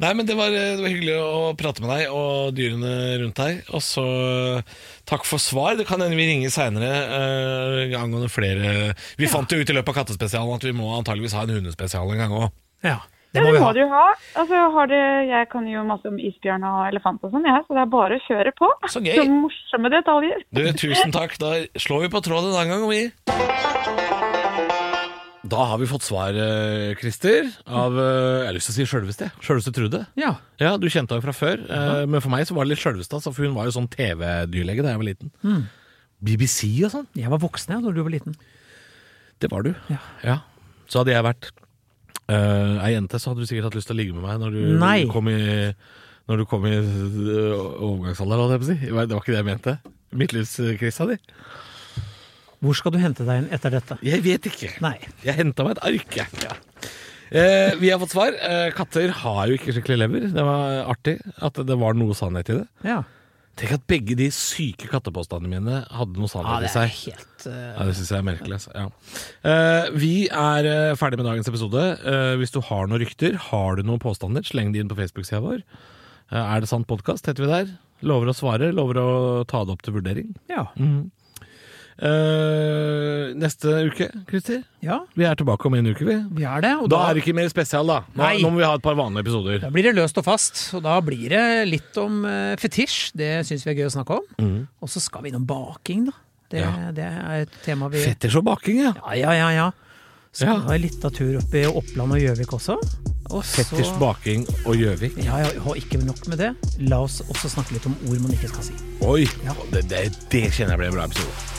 Speaker 3: Nei, men det var, eh, det var hyggelig å prate med deg og dyrene rundt deg. Og så eh, takk for svar. Det kan hende vi ringer seinere angående flere Vi fant jo ut i løpet av kattespesialen at vi må antageligvis ha en hundespesial en gang òg.
Speaker 2: Ja,
Speaker 4: Det
Speaker 2: det må vi ha.
Speaker 4: du ha. Altså, har det, jeg kan jo masse om isbjørn og elefant og sånn, jeg, så det er bare å kjøre på.
Speaker 2: Så gøy.
Speaker 4: Så morsomme detaljer.
Speaker 3: Du, tusen takk. Da slår vi på tråden en gang, vi. Da har vi fått svar, eh, Christer, av eh, Jeg har lyst til å si sjølveste. Sjølveste Trude.
Speaker 2: Ja.
Speaker 3: Ja, du kjente henne fra før, eh, men for meg så var det litt sjølveste, altså, for hun var jo sånn TV-dyrlege da jeg var liten. BBC og sånn,
Speaker 2: Jeg var voksen jeg da du var liten.
Speaker 3: det var du.
Speaker 2: Ja.
Speaker 3: Så hadde jeg vært uh, ei jente, så hadde du sikkert hatt lyst til å ligge med meg når du
Speaker 2: Nei.
Speaker 3: kom i, når du kom i eh, overgangsalderen, holdt jeg på å si. Det var det var ikke det jeg mente. Midtlivskrisa di.
Speaker 2: Hvor skal du hente deg inn etter dette?
Speaker 3: Jeg vet ikke.
Speaker 2: Nei.
Speaker 3: Jeg henta meg et ark, jeg. Eh, vi har fått svar. Eh, katter har jo ikke skikkelig lever. Det var artig at det var noe sannhet i det.
Speaker 2: Ja.
Speaker 3: Tenk at begge de syke kattepåstandene mine hadde noe
Speaker 2: ja,
Speaker 3: sannhet
Speaker 2: det
Speaker 3: i
Speaker 2: er
Speaker 3: seg.
Speaker 2: helt eh,
Speaker 3: Ja, Det syns jeg er merkelig. Altså. Ja. Eh, vi er eh, ferdig med dagens episode. Eh, hvis du har noen rykter, har du noen påstander, sleng de inn på Facebook-sida vår. Eh, er det sant podkast, heter vi der.
Speaker 2: mm.
Speaker 3: Lover å svare, lover å ta det opp til vurdering.
Speaker 2: Ja.
Speaker 3: Eh, neste uke, Christer.
Speaker 2: Ja,
Speaker 3: Vi er tilbake om en uke, vi.
Speaker 2: vi er det. Og
Speaker 3: Da
Speaker 2: da,
Speaker 3: er det ikke mer spesial, da. Nå,
Speaker 2: Nei.
Speaker 3: nå må vi ha et par vanlige episoder.
Speaker 2: da blir det løst og fast. Og da blir det litt om eh, fetisj. Det syns vi er gøy å snakke om. Og så skal vi innom baking, da. Det,
Speaker 3: Mm. Ja.
Speaker 2: det er et tema vi
Speaker 3: Fetter så baking, ja.
Speaker 2: Ja, ja, ja. ja. Skal
Speaker 3: Ja.
Speaker 2: ha en liten tur opp i Oppland og Gjøvik også. Og så-
Speaker 3: Fetters baking og Gjøvik.
Speaker 2: Ja, ja, og ikke nok med det. La oss også snakke litt om ord man ikke skal si.
Speaker 3: Oi, det, det, det kjenner jeg blir en bra episode.